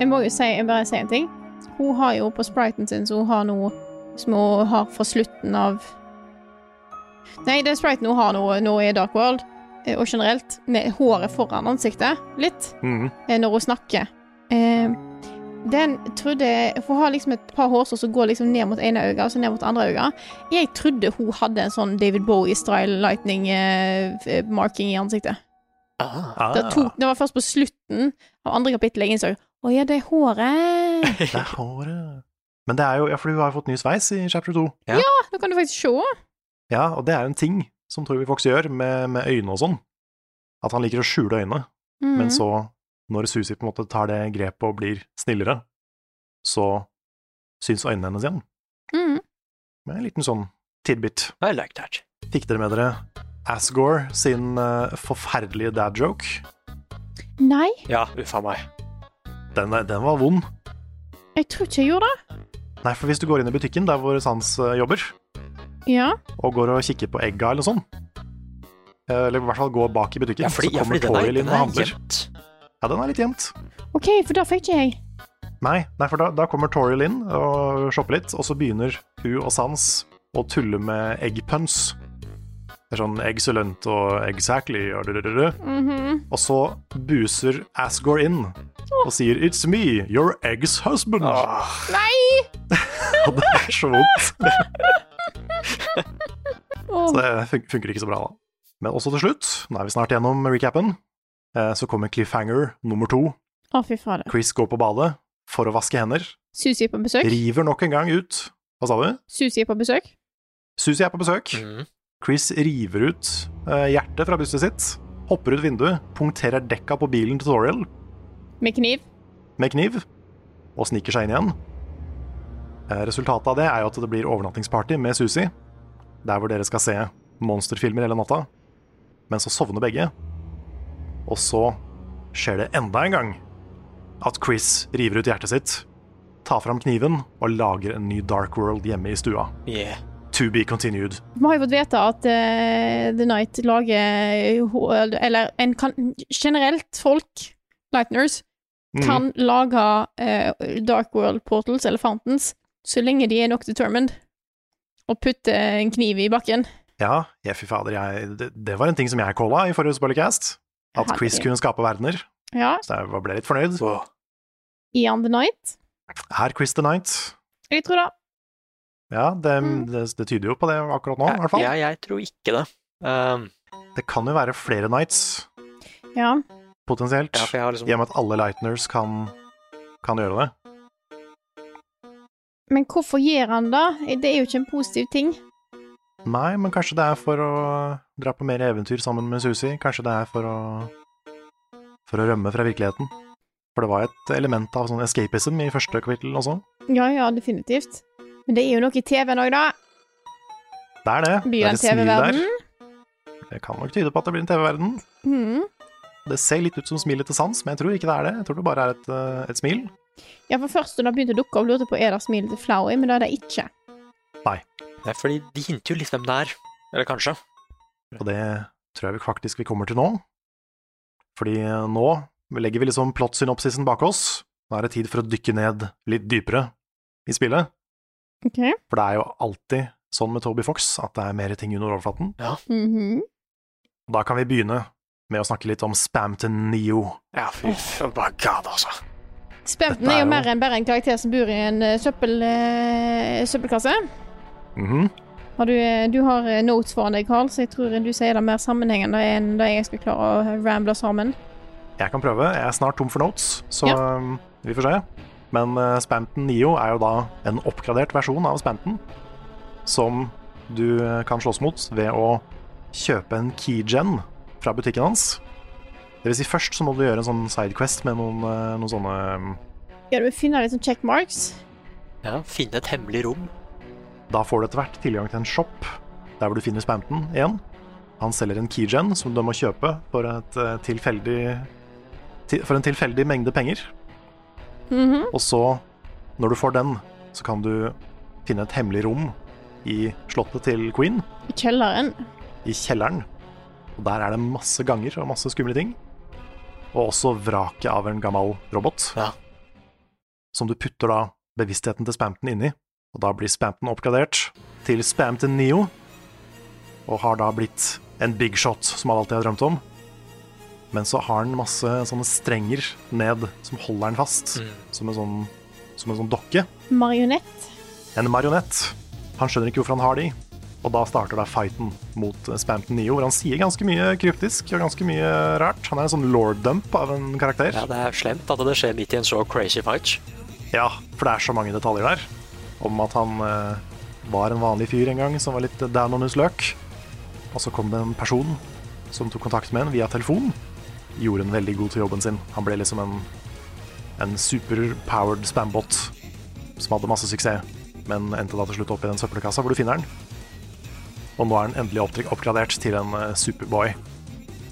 Jeg må jo si, jeg bare si en ting. Hun har jo på spriten sin, så hun har noe som hun har fra slutten av Nei, det er spriten hun har nå, nå i Dark World, eh, og generelt, med håret foran ansiktet, litt, Mhm. eh, når hun snakker. Eh, Den trodde jeg For hun har liksom et par hårstrå som går liksom ned mot ene øyet, og så ned mot andre øyet. Jeg trodde hun hadde en sånn David Bowie-style lightning-marking i ansiktet. Ah. Ah, Det, tok, det var først på slutten av andre kapittel jeg innså Å ja, det er håret. <laughs> det er håret. Men det er jo, ja, for du har jo fått ny sveis i chapter 2. Nå kan du faktisk se. Ja, og det er en ting som Toby Fox gjør med, med øyne og sånn. At han liker å skjule øynene, Mhm. Mm. men så, når Susi på en måte tar det grepet og blir snillere, så syns øynene hennes igjen. Mhm. Med en liten sånn tidbit. <laughs> I like that. Fikk dere med dere Asgore sin eh, forferdelige dad joke? Nei, Ja, uffa meg. Den, er- den var vond. jeg tror ikke jeg gjorde det. Nei, for hvis du går inn i butikken der hvor Sans eh, jobber, Ja. og går og kikker på egga eller sånn. Eh, Eller i hvert fall går bak i butikken, Ja, fordi, så ja, kommer fordi den er, Tori den inn og er handler. gjemt. Ja, den er litt gjemt. OK, for det fikk ikke jeg. Nei, nei for da, da kommer Tori inn og shopper litt, og så begynner hun og Sans å tulle med eggpuns. Det er sånn 'excellent' og 'exactly' og du-du-du-du. Mhm. Og så buser Asgore inn og sier 'It's me, your egg's husband'. Nei! Og <laughs> det er så vondt. Åh. Så det fun- funker ikke så bra, da. Men også til slutt, nå er vi snart gjennom recapen, eh, så kommer cliffhanger nummer to. Å, fy fader. Chris går på badet for å vaske hender, Susi er på besøk. river nok en gang ut Hva sa du? Susi er på besøk. Susi er på besøk. Mm. Chris river ut eh, hjertet fra brystet sitt, hopper ut vinduet, punkterer dekka på bilen til Toriel Med kniv. med kniv, og sniker seg inn igjen. Eh, Resultatet av det er jo at det blir overnattingsparty med Susi, der hvor dere skal se monsterfilmer hele natta, men så sovner begge. Og så skjer det enda en gang at Chris river ut hjertet sitt, tar fram kniven og lager en ny Dark World hjemme i stua. Yeah. To be continued. Vi har jo fått vite at eh, The Night lager ho- Eller en kan, generelt folk, Lightners, Mm. kan lage eh, Dark World Portals eller Fountains så lenge de er nok determined. Og putte en kniv i bakken. Ja, ja, fy fader, jeg, det, det var en ting som jeg calla i forrige spoilercast. At Herregud. Chris kunne skape verdener. Ja, Så jeg ble litt fornøyd. i On The Night. Er Chris the Night? Jeg tror det. Ja, det, Mm. det, det tyder jo på det akkurat nå, i hvert fall. Jeg, jeg tror ikke det. Ehm, Det kan jo være flere Nights, Ja. potensielt. ja, for jeg har I liksom og med at alle Lightners kan, kan gjøre det. Men hvorfor gjør han det? Det er jo ikke en positiv ting. Nei, men kanskje det er for å dra på mer eventyr sammen med Susi. Kanskje det er for å For å rømme fra virkeligheten. For det var et element av sånn escapism i første kapittel også. Ja, ja, definitivt. Men det er jo noe i TV-en òg, da. Det er det. Det Blir er det en et smil der. TV-verden? Det kan nok tyde på at det blir en TV-verden. Mhm. Det ser litt ut som smilet til sans, men jeg tror ikke det er det. Jeg tror det bare er et, eh, et smil. Ja, for først da det begynte å dukke opp, lurte jeg på er det smilet til Flowey, men det er det ikke. Nei, fordi de hinter jo litt hvem det er. Eller kanskje. Og det tror jeg vi faktisk vi kommer til nå. Fordi eh, nå legger vi liksom plottsynopsisen bak oss. Nå er det tid for å dykke ned litt dypere i spillet. Ok. For det er jo alltid sånn med Toby Fox at det er mer ting under overflaten. Mhm. Og Da kan vi begynne med å snakke litt om Spamton Neo. Ja, fy faen, my god, altså. Spenten Dette er er jo jo- mer enn bare en karakter som bor i en eh, søppel, eh, søppelkasse. Mhm. Har du, eh, du har eh, notes foran deg, Carl, så jeg tror du sier det mer sammenhengende enn det jeg skal klare å ramble sammen. Jeg kan prøve. Jeg er snart tom for notes, så um, vi får se. Men uh, Spamton Neo er jo da en oppgradert versjon av Spamton, som du uh, kan slåss mot ved å kjøpe en keygen fra butikken hans. Det vil si først så må du gjøre en sånn sidequest med noen, uh, noen sånne um, Ja, du vil finne litt sånn checkmarks. Ja, finne et hemmelig rom. Da får du etter hvert tilgang til en shop der hvor du finner Spamton igjen. Han selger en keygen som du må kjøpe for, et, eh, tilfeldig, ti- for en tilfeldig mengde penger. Mhm. Og så, når du får den, så kan du finne et hemmelig rom i slottet til Queen, I kjelleren. i kjelleren. Og der er det masse ganger og masse skumle ting. Og også vraket av en gammel robot. Ja. Som du putter da bevisstheten til Spamton inni. Og da blir Spamton oppgradert til Spamton Neo. Og har da blitt en big shot, som han alltid har drømt om. Men så har han masse sånne strenger ned som holder han fast, som, en sånn, som en sånn dokke. Marionett. En marionett. Han skjønner ikke hvorfor han har de. Og da starter da fighten mot Spamton Neo, hvor han sier ganske mye kryptisk og ganske mye rart. Han er en sånn lord-dump av en karakter. Ja, det er slemt at det skjer midt i en så crazy fight. Ja, for det er så mange detaljer der. Om at han eh, var en vanlig fyr en gang som var litt down on his luck. Og så kom det en person som tok kontakt med en via telefon. Gjorde en veldig god til jobben sin. Han ble liksom en, en superpowered spambot som hadde masse suksess, men endte da til slutt opp i den søppelkassa hvor du finner den. Og nå er han endelig opptryk- oppgradert til en eh, superboy.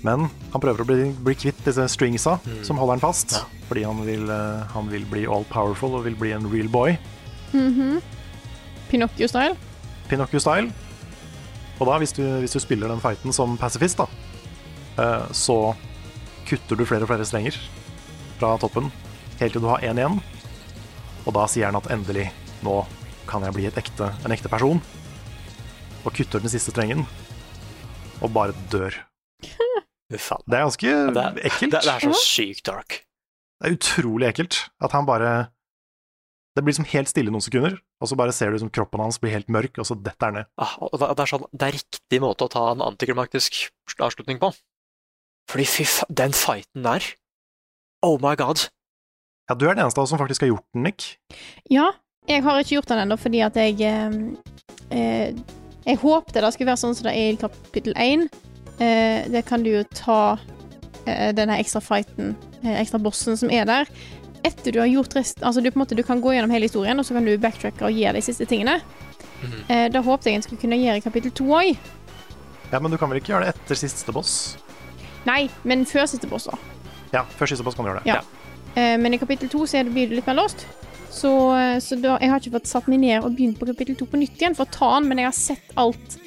Men han prøver å bli, bli kvitt disse stringsa Mm. som holder han fast, fordi han vil, eh, han vil bli all powerful og vil bli en real boy, Pinocchio-style. Pinocchio-style. Og da, hvis du, hvis du spiller den fighten som pasifist, da, eh, så kutter du flere og flere strenger fra toppen, helt til du har én igjen. Og da sier han at endelig, nå kan jeg bli et ekte, en ekte person. Og kutter den siste strengen, og bare dør. Uff faen. Det er ganske Det er, ekkelt. det, det er så sykt dark. Det er utrolig ekkelt at han bare Det blir liksom helt stille noen sekunder, og så bare ser du liksom kroppen hans blir helt mørk, og så detter han ned. Ah, og det det er sånn, det er riktig måte å ta en antiklimaktisk avslutning på. Fordi fy faen, den fighten der Oh my god. Ja, du er den eneste av oss som faktisk har gjort den, Nick. Ja, jeg har ikke gjort den ennå fordi at jeg eh, eh, Jeg håpte det skulle være sånn som det er i kapittel 1. Eh, der kan du jo ta eh, denne ekstra fighten, eh, ekstra bossen som er der. Etter du har gjort resten Altså du, på en måte, du kan gå gjennom hele historien, og så kan du backtracke og gjøre de siste tingene. Eh, da håpte jeg en skulle kunne gjøre i kapittel 2 òg. Ja, Men du kan vel ikke gjøre det etter siste boss? Nei, men før siste boss, da. Ja, før siste boss kan du gjøre det. Ja. Eh, Men i kapittel to så er det- blir du litt mer låst. Så, eh, så da, jeg har ikke fått satt meg ned og begynt på kapittel to på nytt igjen for å ta den, men jeg har sett alt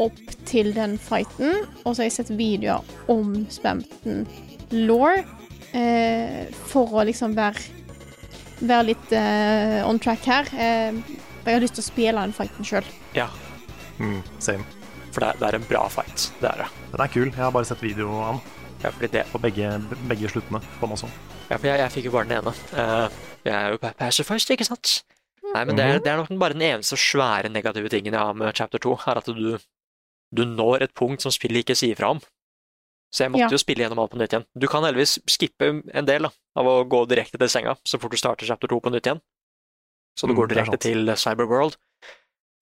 opp til den fighten. Og så har jeg sett videoer om Spamton law eh, for å liksom være, være litt eh, on track her. Eh, for jeg har lyst til å spille den fighten sjøl. Ja, Mm, same. for det er, det er en bra fight. Det er det. Den er kul. Jeg har bare sett video av den Ja, fordi det på begge, begge sluttene. på den også. Ja, for jeg, jeg fikk jo bare den ene. Eh, jeg er jo pa- pacifist, ikke sant? Nei, men det Mhm. er, det er nok den- bare den eneste svære negative tingen jeg har med chapter 2, er at du, du når et punkt som spillet ikke sier fra om. Så jeg måtte Ja. jo spille gjennom alt på nytt igjen. Du kan heldigvis skippe en del da, av å gå direkte til senga så fort du starter chapter 2 på nytt igjen. Så du Mm, går det er direkte sant. til eh, Cyberworld.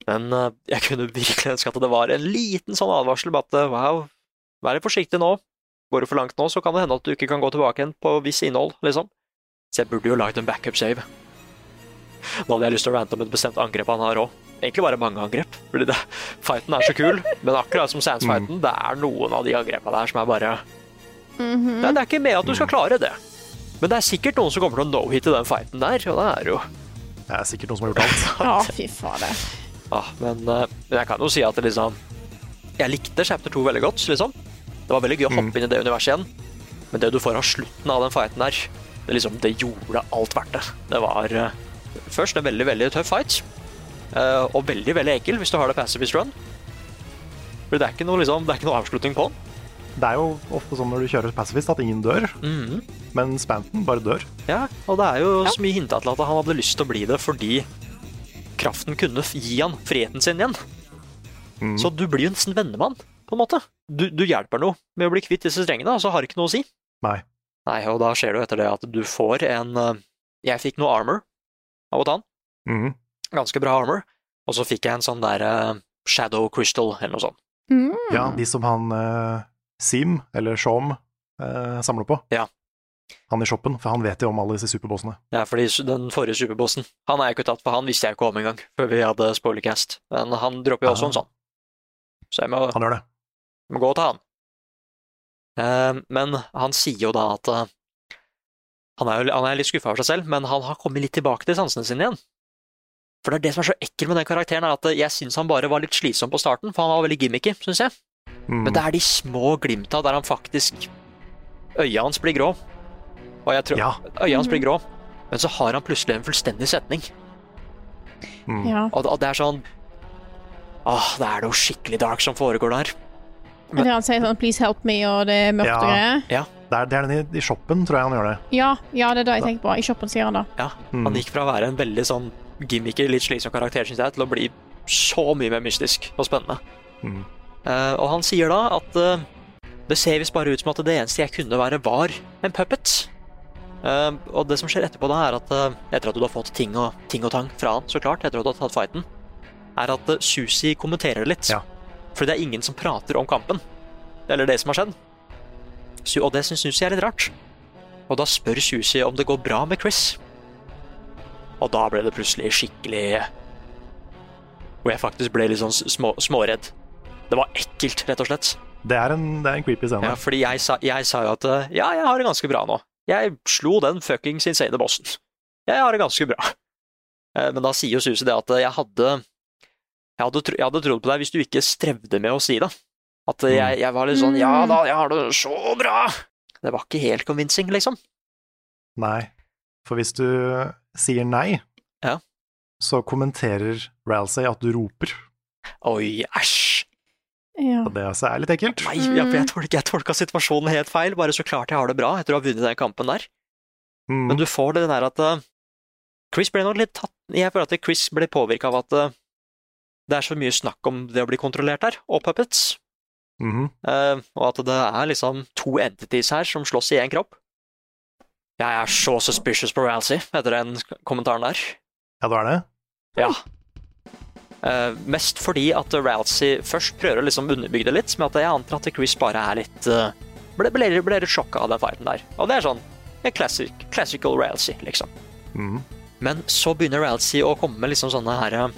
Men eh, jeg kunne virkelig ønske at det var en liten sånn advarsel på at eh, wow, vær litt forsiktig nå. Går du for langt nå, så kan det hende at du ikke kan gå tilbake igjen på viss innhold, liksom. Så jeg burde jo lagd en backup save. Nå hadde jeg lyst til å rante om et bestemt angrep han har òg. Egentlig bare mange angrep, fordi det, fighten er så kul. Men akkurat som Sands-fighten, det er noen av de angrepene der som er bare Nei, Det er ikke med at du skal klare det. Men det er sikkert noen som kommer til å no-hit i den fighten der, og det er jo Det er sikkert noen som har gjort alt. Ja, fy fader. ah, men, eh, men jeg kan jo si at det liksom Jeg likte chapter 2 veldig godt, liksom. Det var veldig gøy å hoppe inn i det universet igjen. Men det du får av slutten av den fighten der, det liksom Det gjorde alt verdt det. Det var eh, først en veldig, veldig tøff fight. eh, og veldig, veldig enkel hvis du har det pacifist run. For det er ikke noe, liksom, det er ikke noe avslutning på den. Det er jo ofte sånn når du kjører pacifist at ingen dør, men Spanton bare dør. Ja, og det er jo så mye hinta til at han hadde lyst til å bli det fordi kraften kunne f- gi han friheten sin igjen. Mm. Så du blir jo nesten vennemann, på en måte. Du, du hjelper noe med å bli kvitt disse strengene, og så har det ikke noe å si. Nei. Nei, og da skjer det jo etter det at du får en eh, Jeg fikk noe armor av å ta den. Mhm. Ganske bra armor. Og så fikk jeg en sånn der eh, shadow crystal, eller noe sånt. Mm. Ja, de som han eh, Sim, eller Shom, eh, samler på. Ja. Han i shoppen, for han vet jo om alle disse superbossene. Ja, fordi su- den forrige superbossen Han er jeg ikke tatt, for han visste jeg ikke om engang før vi hadde spoilercast. Men han dropper jo også en Ah. sånn. Så jeg må Han gjør det. må gå til han. Eh, Men han sier jo da at eh, han er, jo, han er litt skuffa over seg selv, men han har kommet litt tilbake til sansene sine igjen. For det er det som er så ekkelt med den karakteren, er at eh, jeg syns han bare var litt slitsom på starten, for han var veldig gimmicky, syns jeg. Mm. Men det er de små glimta der han faktisk Øya hans blir grå. Og jeg tror Ja. Øya hans blir grå, men så har han plutselig en fullstendig setning. Mm. Ja. Og, og det er sånn Åh, det er noe skikkelig dark som foregår der. Men- Det han sier sånn 'please help me', og det er mørkt Ja. og greier. Det er, det er den i, i shoppen, tror jeg han gjør det. Ja, ja, det er det jeg tenker på. I shoppen sier han det. Ja, Mm. han gikk fra å være en veldig sånn gimmicky, litt slitsom karakter, synes jeg, til å bli så mye mer mystisk og spennende. Mm. Eh, og han sier da at eh, det ser visst bare ut som at det eneste jeg kunne være, var en puppet. Eh, og det som skjer etterpå da, er at eh, etter at du har fått ting og, ting og tang fra han, så klart, etter at du har tatt fighten, er at eh, Susi kommenterer litt. Ja. Fordi det er ingen som prater om kampen, eller det som har skjedd. Su- Og det syns Susi er litt rart. Og da spør Susi om det går bra med Chris. Og da ble det plutselig skikkelig Hvor jeg faktisk ble litt sånn s- små, småredd. Det var ekkelt, rett og slett. Det er en, det er en creepy scene. Ja, fordi jeg sa, jeg sa jo at eh, ja, jeg har det ganske bra nå. Jeg slo den fuckings insane bossen. Jeg har det ganske bra. Eh, Men da sier jo Susi det at eh, jeg hadde jeg hadde, tro, jeg hadde trodd på deg hvis du ikke strevde med å si det. At eh, jeg, jeg var litt sånn Ja da, jeg har det så bra! Det var ikke helt convincing, liksom. Nei. For hvis du eh, sier nei, Ja. så kommenterer Ralsei at du roper. Oi, æsj. Ja. Og det altså er litt ekkelt. Nei, jeg, jeg, tolka, jeg tolka situasjonen helt feil. Bare så klart jeg har det bra etter å ha vunnet den kampen der. Mm. Men du får det der at eh, Chris ble nok litt tatt Jeg føler at Chris ble påvirka av at eh, det er så mye snakk om det å bli kontrollert her, og puppets. Mhm. Eh, og at det er liksom to entities her som slåss i én kropp. Jeg er så suspicious på Ralsey etter den kommentaren der. Ja, du er det? Ja. Eh, mest fordi at Rousey først prøver å liksom underbygge det litt, med at jeg antar at Chris bare er litt eh, ble, ble, ble litt sjokka av den fighten der. Og det er sånn en classic, classical Rousey, liksom. Mm. Men så begynner Rousey å komme med liksom sånne her eh,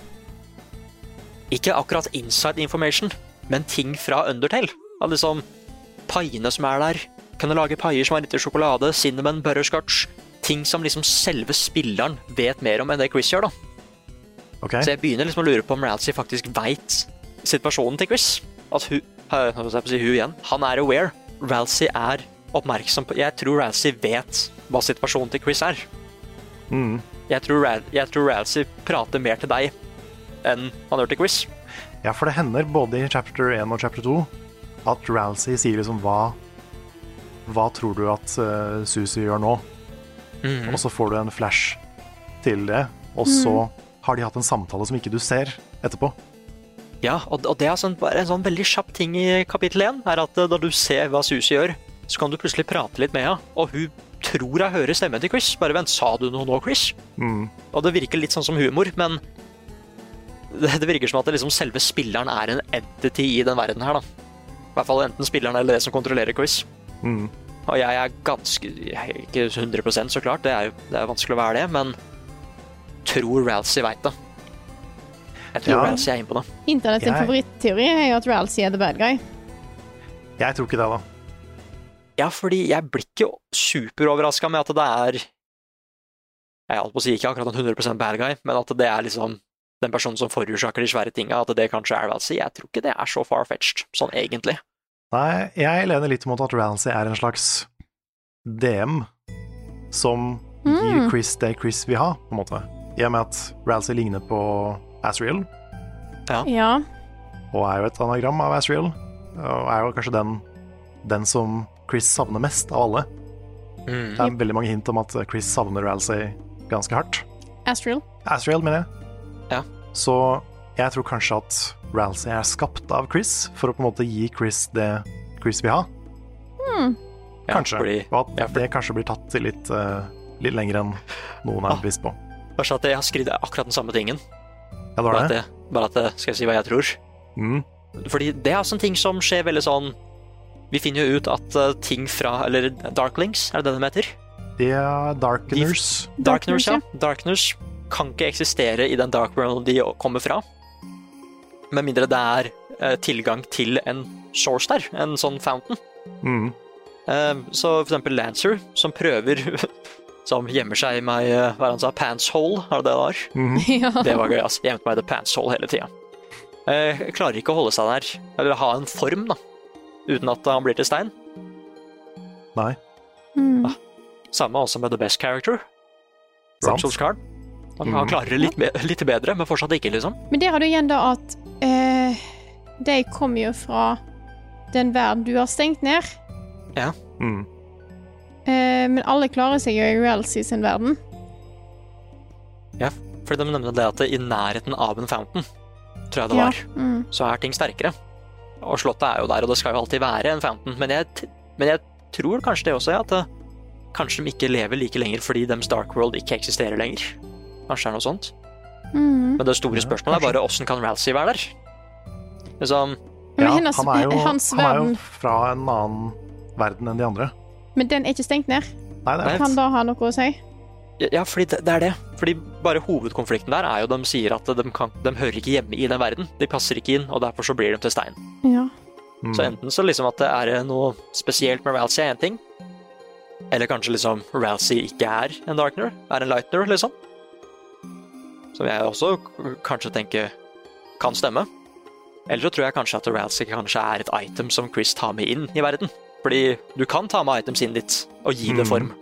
Ikke akkurat inside information, men ting fra Undertale. Av liksom paiene som er der. Kan du lage paier som er litt i sjokolade, cinnamon, butterscotch? Ting som liksom selve spilleren vet mer om enn det Chris gjør, da. Ok, Så jeg begynner liksom å lure på om Ramsay faktisk veit situasjonen til Chris. At hun, eh, hva skal jeg si, hun igjen, han er aware. Ramsay er oppmerksom på Jeg tror Ramsay vet hva situasjonen til Chris er. Mhm. Jeg tror, Ral- jeg tror Ramsay prater mer til deg enn han gjør til Chris. Ja, for det hender både i chapter 1 og chapter 2 at Ralsey sier liksom hva Hva tror du at eh, Susie gjør nå? Og så får du en flash til det, og så har de hatt en samtale som ikke du ser etterpå. Ja, og, og det er sånn, bare en sånn veldig kjapp ting i kapittel én, er at eh, da du ser hva Susi gjør, så kan du plutselig prate litt med henne, og hun tror hun hører stemmen til Chris. Bare vent, sa du noe nå, Chris? Mhm. Og det virker litt sånn som humor, men det, det virker som at det liksom selve spilleren er en entity i den verden her, da. I hvert fall enten spilleren eller det som kontrollerer Chris. Mhm. Og jeg er ganske jeg er Ikke 100 så klart, det er, det er vanskelig å være det, men tror Ralsey veit det. Jeg tror Ja. Ralsey er inne på det. Internett sin Jeg- favoritteori er jo at Ralsey er the bad guy. Jeg tror ikke det, da. Ja, fordi jeg blir ikke superoverraska med at det er Jeg holdt på å si ikke akkurat en 100 bad guy, men at det er liksom den personen som forårsaker de svære tinga, at det kanskje er Ralsey. Jeg tror ikke det er så far-fetched, sånn egentlig. Nei, jeg lener litt mot at Ramsay er en slags DM som gir Mm. Chris det Chris vil ha, på en måte. I og med at Ramsay ligner på Asriel, Ja. og er jo et anagram av Asriel, og er jo kanskje den, den som Chris savner mest av alle. Mm. Det er veldig mange hint om at Chris savner Ramsay ganske hardt. Astral. Asriel, mener jeg. Ja. Så jeg tror kanskje at Ralsei er skapt av Chris, for å på en måte gi Chris det Chris vil ha. Ja, Kanskje. Fordi, Og at ja, for- det kanskje blir tatt til litt, eh, litt lenger enn noen Ah. er bevisst på. kanskje at jeg har skrevet akkurat den samme tingen, Ja, det var bare at det. det, bare at det skal jeg si hva jeg tror. Mm. Fordi det er sånne ting som skjer veldig sånn Vi finner jo ut at eh, ting fra Eller Darklings, er det det de heter? De er Darkeners. Darkners, Darkners, ja. Darkners kan ikke eksistere i den dark world de kommer fra. Med mindre det er eh, tilgang til en source der, en sånn fountain. Mm. Eh, så for eksempel Lancer, som prøver <laughs> Som gjemmer seg i meg, eh, hva er det han sa, pants hole, er det det det var? Mhm. ja. Det var gøy, ass. Jeg Gjemte meg i the pants hole hele tida. Eh, klarer ikke å holde seg der, eller ha en form, da, uten at han blir til stein. Nei. Mm. Samme også med The Best Character, Sant. Samsons Karn. Han, Mhm. Mm. han klarer det litt, be- litt bedre, men fortsatt ikke, liksom. Men der har du igjen da at eh, de kommer jo fra den verden du har stengt ned. Mm. Eh, men alle klarer seg jo i Realcy sin verden. Fordi de nevnte det at i nærheten av en fountain, tror jeg det Ja. var, Mm. så er ting sterkere. Og slottet er jo der, og det skal jo alltid være en fountain. Men jeg, t- men jeg tror kanskje det også, ja, at eh, kanskje de ikke lever like lenger fordi dems dark world ikke eksisterer lenger. Kanskje det er noe sånt. Mm. Men det store Ja, spørsmålet er bare åssen kan Ralsey være der? Liksom, Men Ja, hennes, eh, han, er jo, hans han er verden, jo fra en annen verden enn de andre. men den er ikke stengt ned. Nei, det er Nei. Kan da ha noe å si? ja, fordi det, det er det. Fordi bare hovedkonflikten der er jo de sier at de, kan, de hører ikke hjemme i den verden. De passer ikke inn, og derfor så blir de til stein. Ja. Mm. Så enten så liksom at det er noe spesielt med Ralsey er én ting, eller kanskje liksom Ralsey ikke er en Darkner, er en Lightner, liksom. Som jeg også k- kanskje tenker kan stemme. Eller så tror jeg kanskje at Ralsey kanskje er et item som Chris tar med inn i verden. Fordi du kan ta med items inn dit og gi det Mhm. form.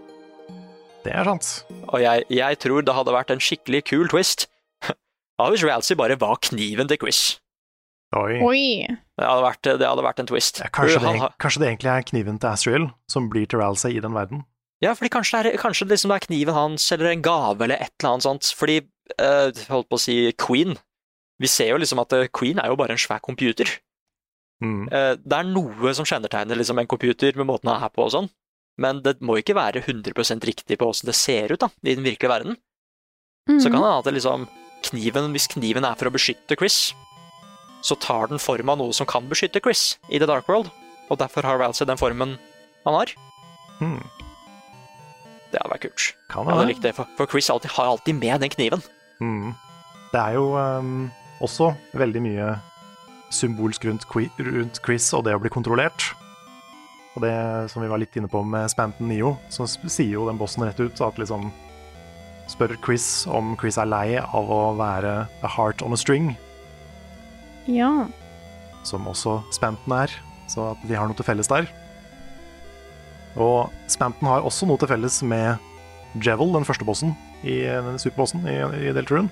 Det er sant. Og jeg, jeg tror det hadde vært en skikkelig kul twist <laughs> av hvis Ralsey bare var kniven til Chris. Oi. Oi. Det hadde vært, det hadde vært en twist. Uh, Ja, Kanskje Han det, har- kanskje det egentlig er kniven til Asriel som blir til Ralsei i den verden. Ja, fordi kanskje det er, kanskje det liksom er kniven hans, eller en gave, eller et eller annet sånt. Fordi, eh, holdt på å si, Queen. Vi ser jo liksom at eh, Queen er jo bare en svær computer. Mm. Eh, det er noe som kjennetegner liksom en computer med måten han er på og sånn. Men det må ikke være 100 riktig på åssen det ser ut da, i den virkelige verden. Så kan Mhm. Mm. det hende at det liksom kniven, hvis kniven er for å beskytte Chris, så tar den form av noe som kan beskytte Chris i The Dark World. Og derfor har Rousey den formen han har. Mm. Det hadde vært kult. Kan Ja, det det. likte jeg, for, for Chris alltid, har alltid med den kniven. Mm. Det er jo ehm, også veldig mye symbolsk rundt, qui rundt quiz og det å bli kontrollert. Og det som vi var litt inne på med Spanton Neo, så s- sier jo den bossen rett ut at liksom Spør Chris om Chris er lei av å være a heart on a string, Ja. som også Spanton er, så at de har noe til felles der. Og Spanton har også noe til felles med Jevel, den første bossen i den superbossen i, i Deltarune.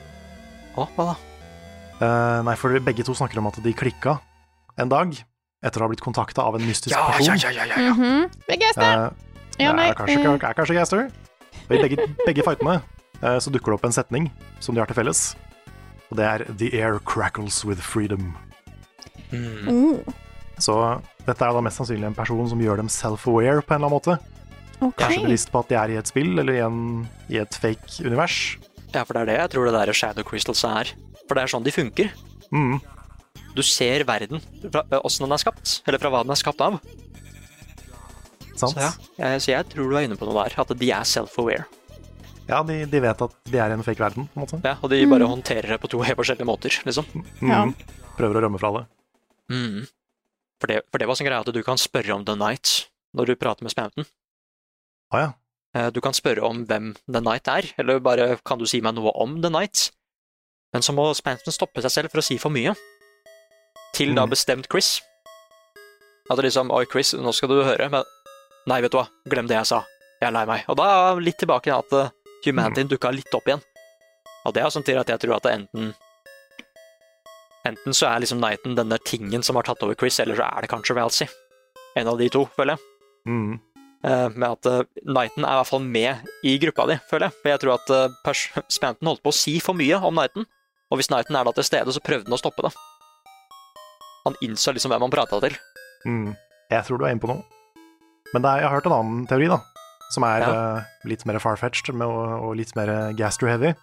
Å, hva da? Eh, nei, for begge to snakker om at de klikka en dag etter å ha blitt kontakta av en mystisk person. Mhm. Big ass there. Eh, Ja, det nei. er kanskje, eh, ikke- er kanskje Gaster. Og I begge, begge fightene eh, så dukker det opp en setning som de har til felles. Og det er 'The air crackles with freedom'. oh, Så dette er da mest sannsynlig en person som gjør dem self-aware på en eller annen måte. OK. Kanskje bevisst på at de er i et spill eller i, en, i et fake univers. Ja, for det er det jeg tror det der Shadow Crystals er. For det er sånn de funker. Mm. Du ser verden, fra- eh, åssen den er skapt, eller fra hva den er skapt av. Sant? Så, Sånn, ja. jeg, så jeg tror du er inne på noe der, at de er self-aware. ja de, de vet at de er i en fake verden, på en måte. Ja, og de bare håndterer det på to helt forskjellige måter, liksom. Ja. Mm. Prøver å rømme fra det. Mm. For, det, for det var sånn greie at du kan spørre om The Night når du prater med Spanton. Å ja. Eh, Du kan spørre om hvem The Night er, eller bare kan du si meg noe om The Night? Men så må Spanton stoppe seg selv for å si for mye. Til da Mm. bestemt Chris. At det liksom Oi, Chris, nå skal du høre, men Nei, vet du hva, glem det jeg sa. Jeg er lei meg. Og da er jeg litt tilbake til at eh, humanityen dukka litt opp igjen. Og det er sånn til at jeg tror at det enten Enten så er liksom Nighten denne tingen som har tatt over Chris, eller så er det kanskje Valsey. En av de to, føler jeg. Mm. Eh, med at eh, Knighten er i hvert fall med i gruppa di, føler jeg. For jeg tror at eh, pers- Spanton holdt på å si for mye om Knighten, og hvis Knighten er da til stede, så prøvde han å stoppe det. Han innså liksom hvem han prata til. Mm. Jeg tror du er inne på noe. Men det er, jeg har hørt en annen teori, da. Som er Ja. eh, litt mer far-fetched med, og, og litt mer gaster-heavy.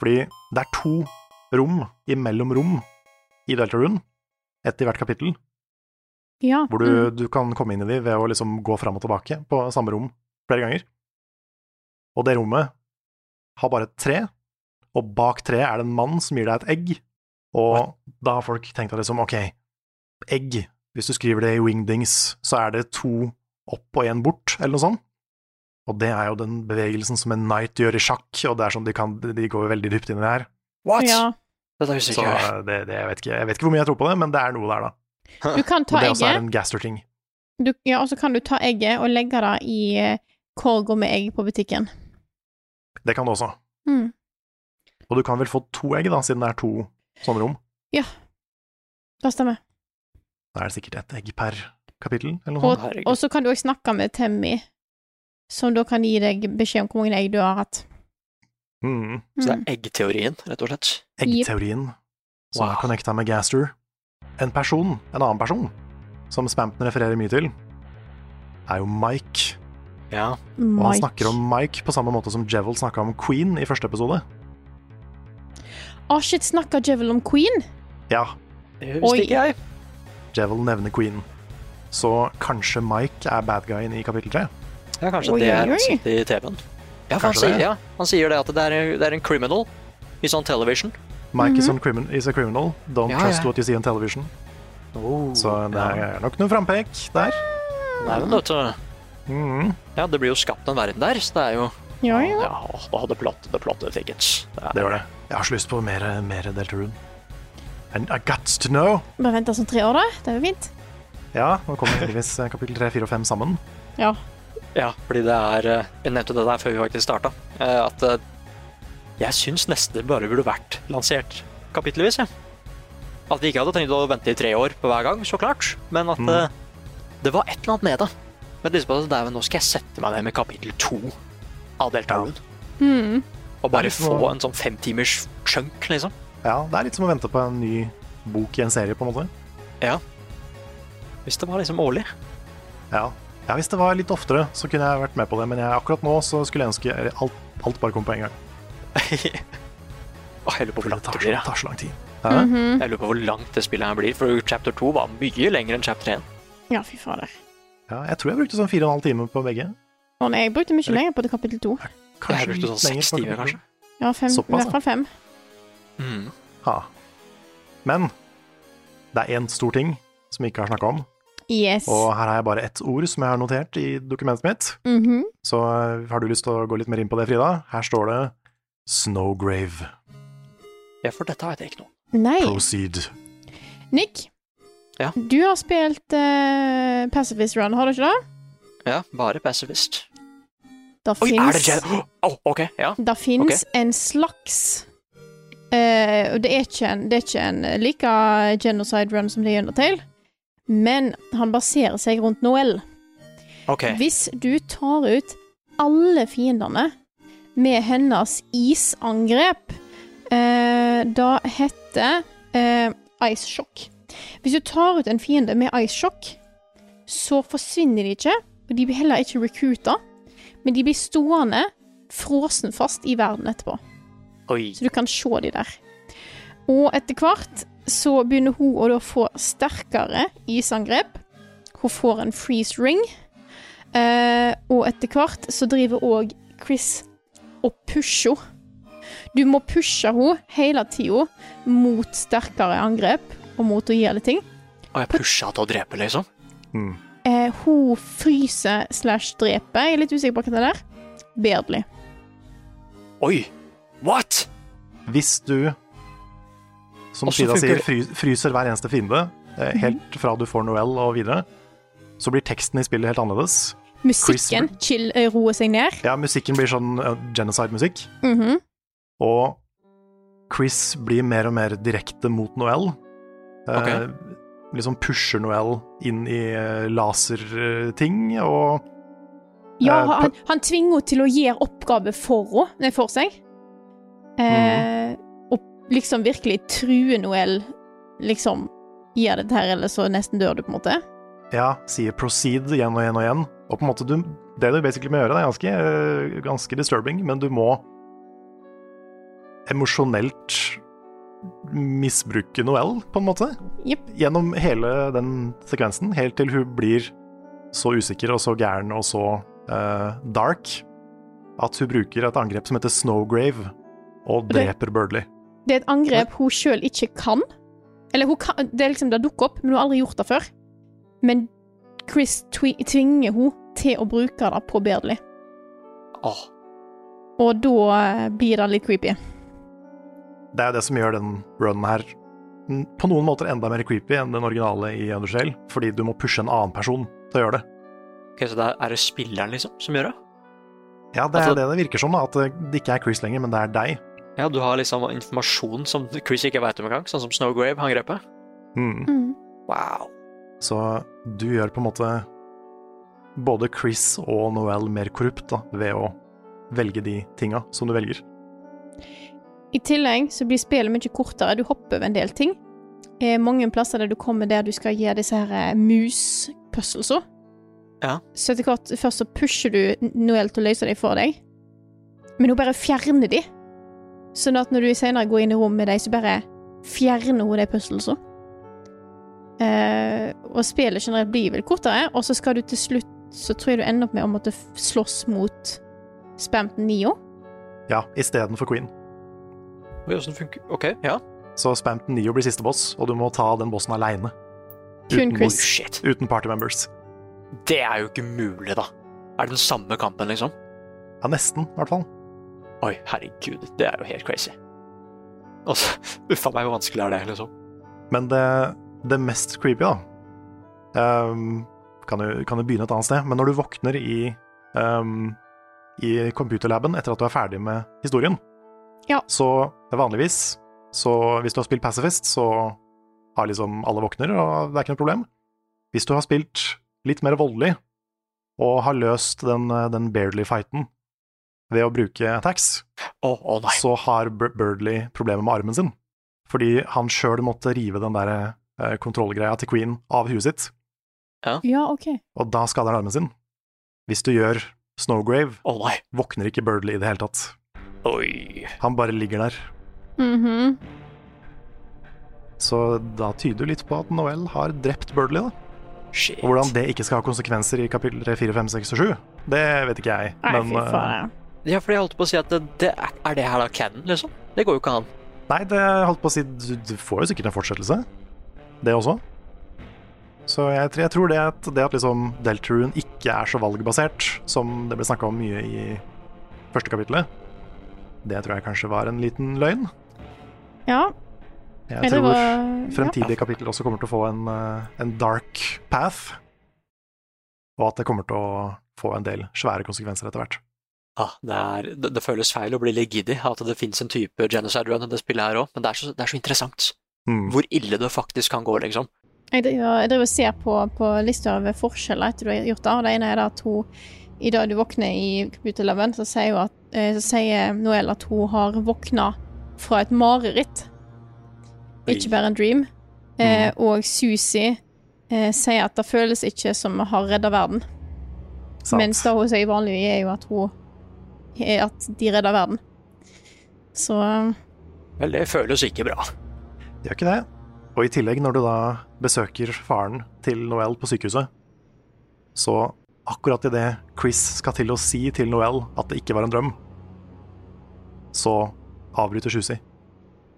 Fordi det er to rom imellom rom i Deltarune, ett i hvert kapittel, Ja. hvor du, mm. du kan komme inn i de ved å liksom gå fram og tilbake på samme rom flere ganger. Og det rommet har bare et tre, og bak treet er det en mann som gir deg et egg. Og da har folk tenkt at liksom, ok, egg, hvis du skriver det i wingdings, så er det to opp og én bort, eller noe sånt. Og det er jo den bevegelsen som en knight gjør i sjakk, og det er sånn de, kan, de går veldig dypt inn i det her. Mm. ja. Dette husker Så ikke jeg. eh, det, det, jeg, vet ikke, jeg vet ikke hvor mye jeg tror på det, men det er noe der, da. Du kan ta Og det også er egget, en gaster-ting. du, ja, og så kan du ta egget og legge det i eh, korga med egg på butikken. Det kan det også. Mm. Og du kan vel få to egg, da, siden det er to sånne rom. Det stemmer. Da er det sikkert ett egg per kapittel, eller noe Og, sånt. herregud. og så kan du òg snakke med Temmy, som da kan gi deg beskjed om hvor mange egg du har hatt. Mm. Så det Mm. er eggteorien, rett og slett. Eggteorien, som Wow. er connecta med Gaster. En person, en annen person, som Spampton refererer mye til, er jo Mike. Ja. Og han Mike. snakker om Mike på samme måte som Jevel snakka om Queen i første episode. Å, shit, snakker Jevel om Queen? Ja, Det husker Oi. ikke jeg. Jevel nevner Queen. Så kanskje Mike er bad guyen i kapittel tre? Ja, kanskje Oi, det oi, er oi. ansiktet i TV-en. Ja, for han Kanskje det. sier, ja, han sier det at det er, det er en criminal i sånn television. Mike is, on crimin is a criminal. Don't Mhm. Ja, trust ja. what you see on television. Så det ja. er nok noen frampek der. Det er jo noe til- Mm. Ja, det blir jo skapt en verden der, så det er jo Ja, ja. da hadde plottet det plottet tickets. Det gjør det. Jeg har så lyst på mer, mer Deltarune. And I got to know. Bare vent sånn tre år, da. Det er jo fint. Ja, nå kommer heldigvis eh, kapittel 3, 4 og 5 sammen. Ja. Ja, fordi det er eh, Jeg nevnte det der før vi faktisk starta, at eh, jeg syns nesten det bare burde vært lansert kapittelvis, jeg. At vi ikke hadde trengt å vente i tre år på hver gang, så klart, men at Mm. eh, det var et eller annet med det. Men liksom, altså, det er jo nå skal jeg sette meg ned med kapittel to av deltakeren. Mm. Og bare Det er få litt sånn- en sånn femtimers chunk, liksom. Ja, det er litt som å vente på en ny bok i en serie, på en måte. Hvis det var liksom årlig. <laughs> Ja. ja, hvis det var litt oftere, så kunne jeg vært med på det, men jeg, akkurat nå så skulle jeg ønske alt, alt bare kom på en gang. Å, jeg lurer på hvor Fordi det langt det tar, blir, så- ja. tar så lang tid. Hæ? Mhm. Jeg lurer på hvor langt det spillet her blir, for chapter 2 var mye lenger enn chapter 1. Ja, fy fader. Ja, jeg tror jeg brukte sånn 4,5 timer på begge. Og jeg brukte mye lenger på det kapittel to. Jeg brukte sånn litt seks lenger på timer, kapittel. Ja, fem. I Såpass, hvert fall fem. Mm. Ja. Men Det er én stor ting som vi ikke har snakka om, Yes. og her har jeg bare ett ord som jeg har notert i dokumentet mitt. Mhm. Så eh, har du lyst til å gå litt mer inn på det, Frida? Her står det Snowgrave. Ja, for dette vet jeg ikke noe om. Nei. Proceed. Nick, Ja. du har spilt eh, Pacifist Run, har du ikke det? Ja, bare pacifist. Det Oi, er det fins Jedi? Å, ok, ja. Det fins en slags eh, Og det er ikke en, det er ikke en like genocide run som det er i Undertale, men han baserer seg rundt Noel. Ok, Hvis du tar ut alle fiendene med hennes isangrep, eh, da heter eh, ice shock. Hvis du tar ut en fiende med ice shock, så forsvinner de ikke, og de blir heller ikke recruita, men de blir stående frosen fast i verden etterpå. oi. Så du kan se de der. Og etter hvert så begynner hun å da få sterkere isangrep. Hun får en freeze ring. Eh, og etter hvert så driver òg Chris og pusher henne. Du må pushe henne hele tida mot sterkere angrep og mot å gjøre ting. Og jeg pusha til å drepe, liksom. Mm. Eh, hun fryser slash dreper. Jeg er litt usikker på hva det er. Beardly. Oi! What?! Hvis du, som Og så Frida funker sier, det- Mhm. fry- fryser hver eneste fiende, eh, helt fra du får Noel og videre, så blir teksten i spillet helt annerledes. Musikken chill, eh, roer seg ned. Ja, musikken blir sånn eh, genocide-musikk, Mhm. og Chris blir mer og mer direkte mot Noel. Eh, Ok. Liksom pusher Noel inn i eh, laserting, og Ja, Eh, han, han tvinger henne til å gjøre oppgaver for, henne- nei, for seg. Mhm. Eh, Og liksom virkelig true Noel. Liksom gjør dette her, eller så nesten dør du, på en måte. ja, sier proceed igjen og igjen og igjen. Og på en måte, du, det du basically må gjøre, det er ganske, eh, ganske disturbing, men du må emosjonelt misbruke Noel, på en måte, Jepp. gjennom hele den sekvensen, helt til hun blir så usikker og så gæren og så eh, dark at hun bruker et angrep som heter Snowgrave, og det- dreper Birdley. Det er et angrep hun sjøl ikke kan. Eller hun kan, det er liksom det dukker opp, men hun har aldri gjort det før. Men Chris twi tvinger hun til å bruke det på Beardly, Åh, og da eh, blir det litt creepy. Det er jo det som gjør den runen her mm, på noen måter enda mer creepy enn den originale i Undershell, fordi du må pushe en annen person til å gjøre det. ok, Så det er- er det spilleren, liksom, som gjør det? Ja, det er Altså- det det virker som, da, at eh, det ikke er Chris lenger, men det er deg. Ja, du har liksom informasjon som Chris ikke veit om engang, sånn som Snowgrave-angrepet. Mm. Wow. Så du gjør på en måte både Chris og Noel mer korrupt da, ved å velge de tinga som du velger. I tillegg så blir spillet mye kortere. Du hopper over en del ting. Eh, mange plasser der du kommer der du skal gjøre disse her eh, mus-puzzlesa. Ja. Så etter hvert først så pusher du N- Noel til å løse dem for deg. Men hun bare fjerner de. Sånn at når du senere går inn i rom med dem, så bare fjerner hun de puzzlesa. Eh, og spillet generelt blir vel kortere, og så skal du til slutt Så tror jeg du ender opp med å måtte f- slåss mot Spamton Nio. Ja, istedenfor Queen. Oi, åssen funker Ok, ja. Så Spampton Neo blir siste boss, og du må ta den bossen aleine. Kun Oh, Chris. shit. Uten partymembers. Det er jo ikke mulig, da. Er det den samme kampen, liksom? Ja, nesten, i hvert fall. Oi, herregud, det er jo helt crazy. Altså, <laughs> uffa meg, hvor vanskelig er det, liksom? Men det, det mest creepy, da ehm, kan, jo, kan jo begynne et annet sted, men når du våkner i, ehm, i computerlaben etter at du er ferdig med historien, Ja. så vanligvis så Hvis du har spilt Pacifist, så har liksom alle våkner, og det er ikke noe problem. Hvis du har spilt litt mer voldelig og har løst den, den Bairdly-fighten ved å bruke attacks, Å, å nei. så har Bir- Birdley problemer med armen sin. Fordi han sjøl måtte rive den der eh, kontrollgreia til Queen av huet sitt, Ja, OK. og da skader han armen sin. Hvis du gjør Snowgrave, Å nei. våkner ikke Birdley i det hele tatt. Oi. Han bare ligger der. Mhm. Så da tyder det litt på at Noel har drept Birdley, da. Shit. Og hvordan det ikke skal ha konsekvenser i kapittel 3, 4, 5, 6 og 7, det vet ikke jeg. Nei, Men fy eh, faen. Ja, fordi jeg holdt på å si at det, det er, er det her da canon, liksom? Det går jo ikke an. nei, det holdt på å si, du, du får jo sikkert en fortsettelse. det også. Så jeg, tr- jeg tror det at, det at liksom Deltarune ikke er så valgbasert som det ble snakka om mye i første kapittelet, det tror jeg kanskje var en liten løgn. Ja. Jeg eller tror hva- ja. fremtidige kapitler også kommer til å få en, eh, en dark path, og at det kommer til å få en del svære konsekvenser etter hvert. Ah, det, er, det, det føles feil å bli litt giddy at det fins en type genocide run i det spillet her òg, men det er, så, det er så interessant Mm. hvor ille det faktisk kan gå, liksom. Jeg driver, jeg driver og ser på, på lista over forskjeller etter du har gjort det. og Det ene er da at hun i dag du våkner i Computer Eleven, så sier, hun at, eh, så sier Noel at hun har våkna fra et mareritt. Ikke bare en dream. Mm. Eh, og Susi eh, sier at det føles ikke som vi har redda verden. Sant. Mens det hun sier vanlig, er jo at hun er at de redder verden. Så Vel, det føles ikke bra. Gjør ikke det. Og i tillegg, når du da besøker faren til Noel på sykehuset, så akkurat idet Chris skal til å si til Noel at det ikke var en drøm, så avbryter Susi.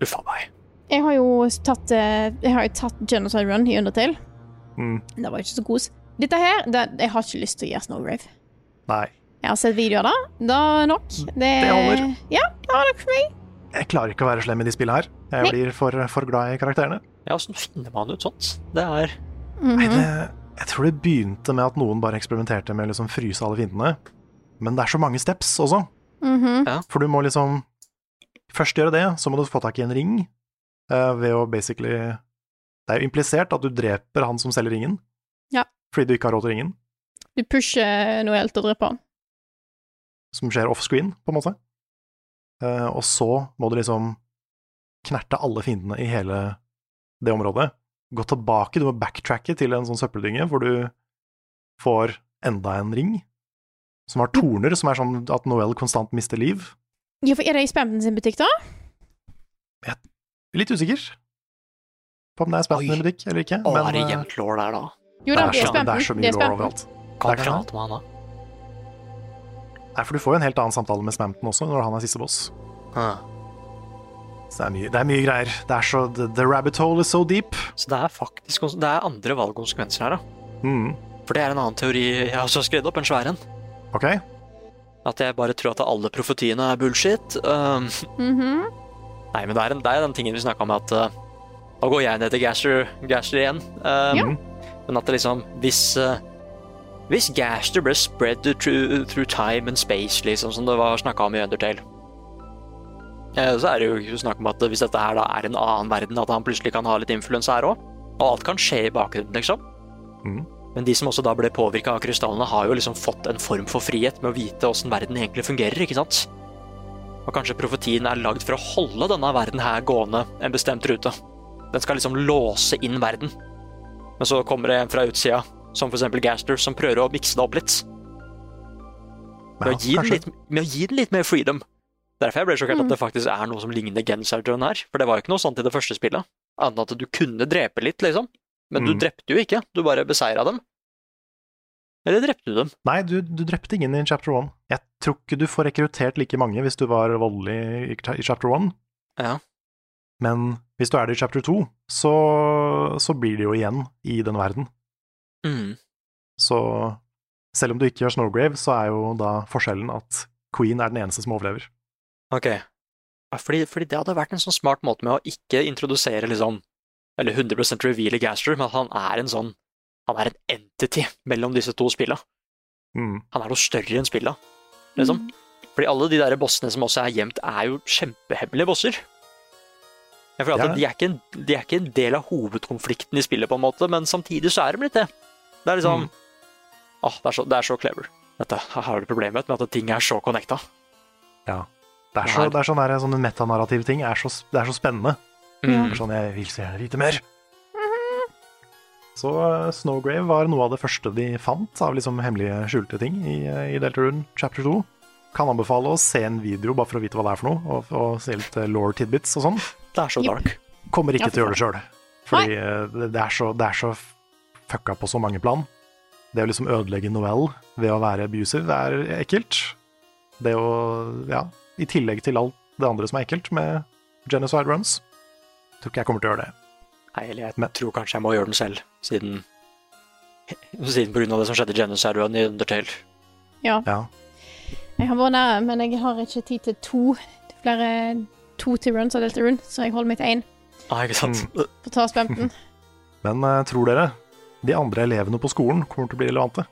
Uffa meg. jeg har jo tatt, eh, jeg har jo tatt Genocide Run i Undertale. Mm, Det var ikke så kos. Dette her det, Jeg har ikke lyst til å gjøre Snowgrave. nei, Jeg har sett videoer da. Da er nok. Det, Mm. holder. Ja, det var nok for meg. jeg klarer ikke å være slem i de spillene her. Jeg Nei. blir for, for glad i karakterene. Ja, åssen finner man ut sånt? Det er Mhm. Nei, det, jeg tror det begynte med at noen bare eksperimenterte med å liksom fryse alle fiendene. Men det er så mange steps også. Mhm. For du må liksom Først gjøre det, så må du få tak i en ring eh, ved å basically Det er jo implisert at du dreper han som selger ringen, Ja. fordi du ikke har råd til ringen, Du pusher Noel til å drepe han. som skjer offscreen, på en måte. Eh, og så må du liksom knerte alle fiendene i hele det området. Gå tilbake, du må backtracke til en sånn søppeldynge hvor du får enda en ring, som har torner, som er sånn at Noel konstant mister liv. Ja, for er det i Spamden sin butikk, da? Litt usikker på om det er Oi. Spampen eller butikk eller ikke. Å, men, er det eh, jevnt lår der, da? Jo, det da, er det er så- det er så Spamden. mye lår Spamden. overalt. Kan det er jeg sant. prate med han da? Nei, for du får jo en helt annen samtale med Spampen også når han er siste boss. Ah. Så det er mye, det er mye greier. Det er så The, the rabbit hole is so deep. Så det er faktisk kons- Det er andre valgkonsekvenser her, da. Mm. For det er en annen teori jeg også har skrevet opp, en svær en. OK? At jeg bare tror at alle profetiene er bullshit. Um, Mhm. <laughs> nei, men det er, en, det er den tingen vi snakka om, at uh, Da går jeg ned til Gaster, Gaster igjen. Um, Ja. Men at det liksom Hvis uh, hvis Gaster ble spread through, through time and space, liksom, som det var snakka om i Undertale eh, Så er det jo ikke snakk om at hvis dette her da er en annen verden, at han plutselig kan ha litt influens her òg. Og alt kan skje i bakgrunnen, liksom. Mhm. Men de som også da ble påvirka av krystallene, har jo liksom fått en form for frihet med å vite åssen verden egentlig fungerer, ikke sant? Og kanskje profetien er lagd for å holde denne verden her gående en bestemt rute. Den skal liksom låse inn verden. Men så kommer det en fra utsida, som for eksempel Gaster, som prøver å mikse det opp litt. Med, Ja, å, gi den kanskje. litt, med å gi den litt mer freedom. Derfor jeg ble sjokkert Mm. at det faktisk er noe som ligner Genserdrøn her. For det var jo ikke noe sånt i det første spillet. Annet enn at du kunne drepe litt, liksom. Men du Mm. drepte jo ikke. Du bare beseira dem. Eller drepte du dem? Nei, du, du drepte ingen i chapter one. Jeg tror ikke du får rekruttert like mange hvis du var voldelig i, i chapter one. Ja. Men hvis du er det i chapter two, så, så blir det jo igjen i den verden. Mm. Så selv om du ikke gjør Snowgrave, så er jo da forskjellen at Queen er den eneste som overlever. Ok. Ja, fordi, fordi det hadde vært en sånn smart måte med å ikke introdusere liksom Eller 100 reveale Gaster, men at han er en sånn Han er en entity mellom disse to spilla. Mm. Han er noe større enn spilla, liksom. Fordi alle de der bossene som også er gjemt, er jo kjempehemmelige bosser. Jeg føler at Ja. de, er ikke en, de er ikke en del av hovedkonflikten i spillet, på en måte, men samtidig så er de litt det. Det er liksom Åh, det er så, det er så clever. Dette har du problemet mitt, med at ting er så connecta. Ja. Det er, så, Nei. det er sånn der, sånne metanarrative ting. Er så, det er så spennende. Det Mm. er Sånn, jeg vil så gjerne vite mer. Så eh, Snowgrave var noe av det første de fant av liksom hemmelige, skjulte ting i, eh, i Deltarune chapter 2. Kan anbefale å se en video bare for å vite hva det er for noe, og, og se litt law tidbits og sånn. Det er så Jep. dark. Kommer ikke Ja, til å gjøre det sjøl, fordi eh, det- det er, så, det er så fucka på så mange plan. Det å liksom ødelegge Noel ved å være abusive er ekkelt. Det å Ja, i tillegg til alt det andre som er ekkelt med genocide runs. Tror ikke jeg kommer til å gjøre det. Nei, eller jeg Men- tror kanskje jeg må gjøre den selv, siden Siden pga. det som skjedde i Genocide-run i Undertale. Ja. Ja. Jeg har vært nære, men jeg har ikke tid til to. Det er flere to til runs av Delta Rune, så jeg holder meg til én Ah, ikke sant? for å ta spemten. Men eh, tror dere de andre elevene på skolen kommer til å bli relevante?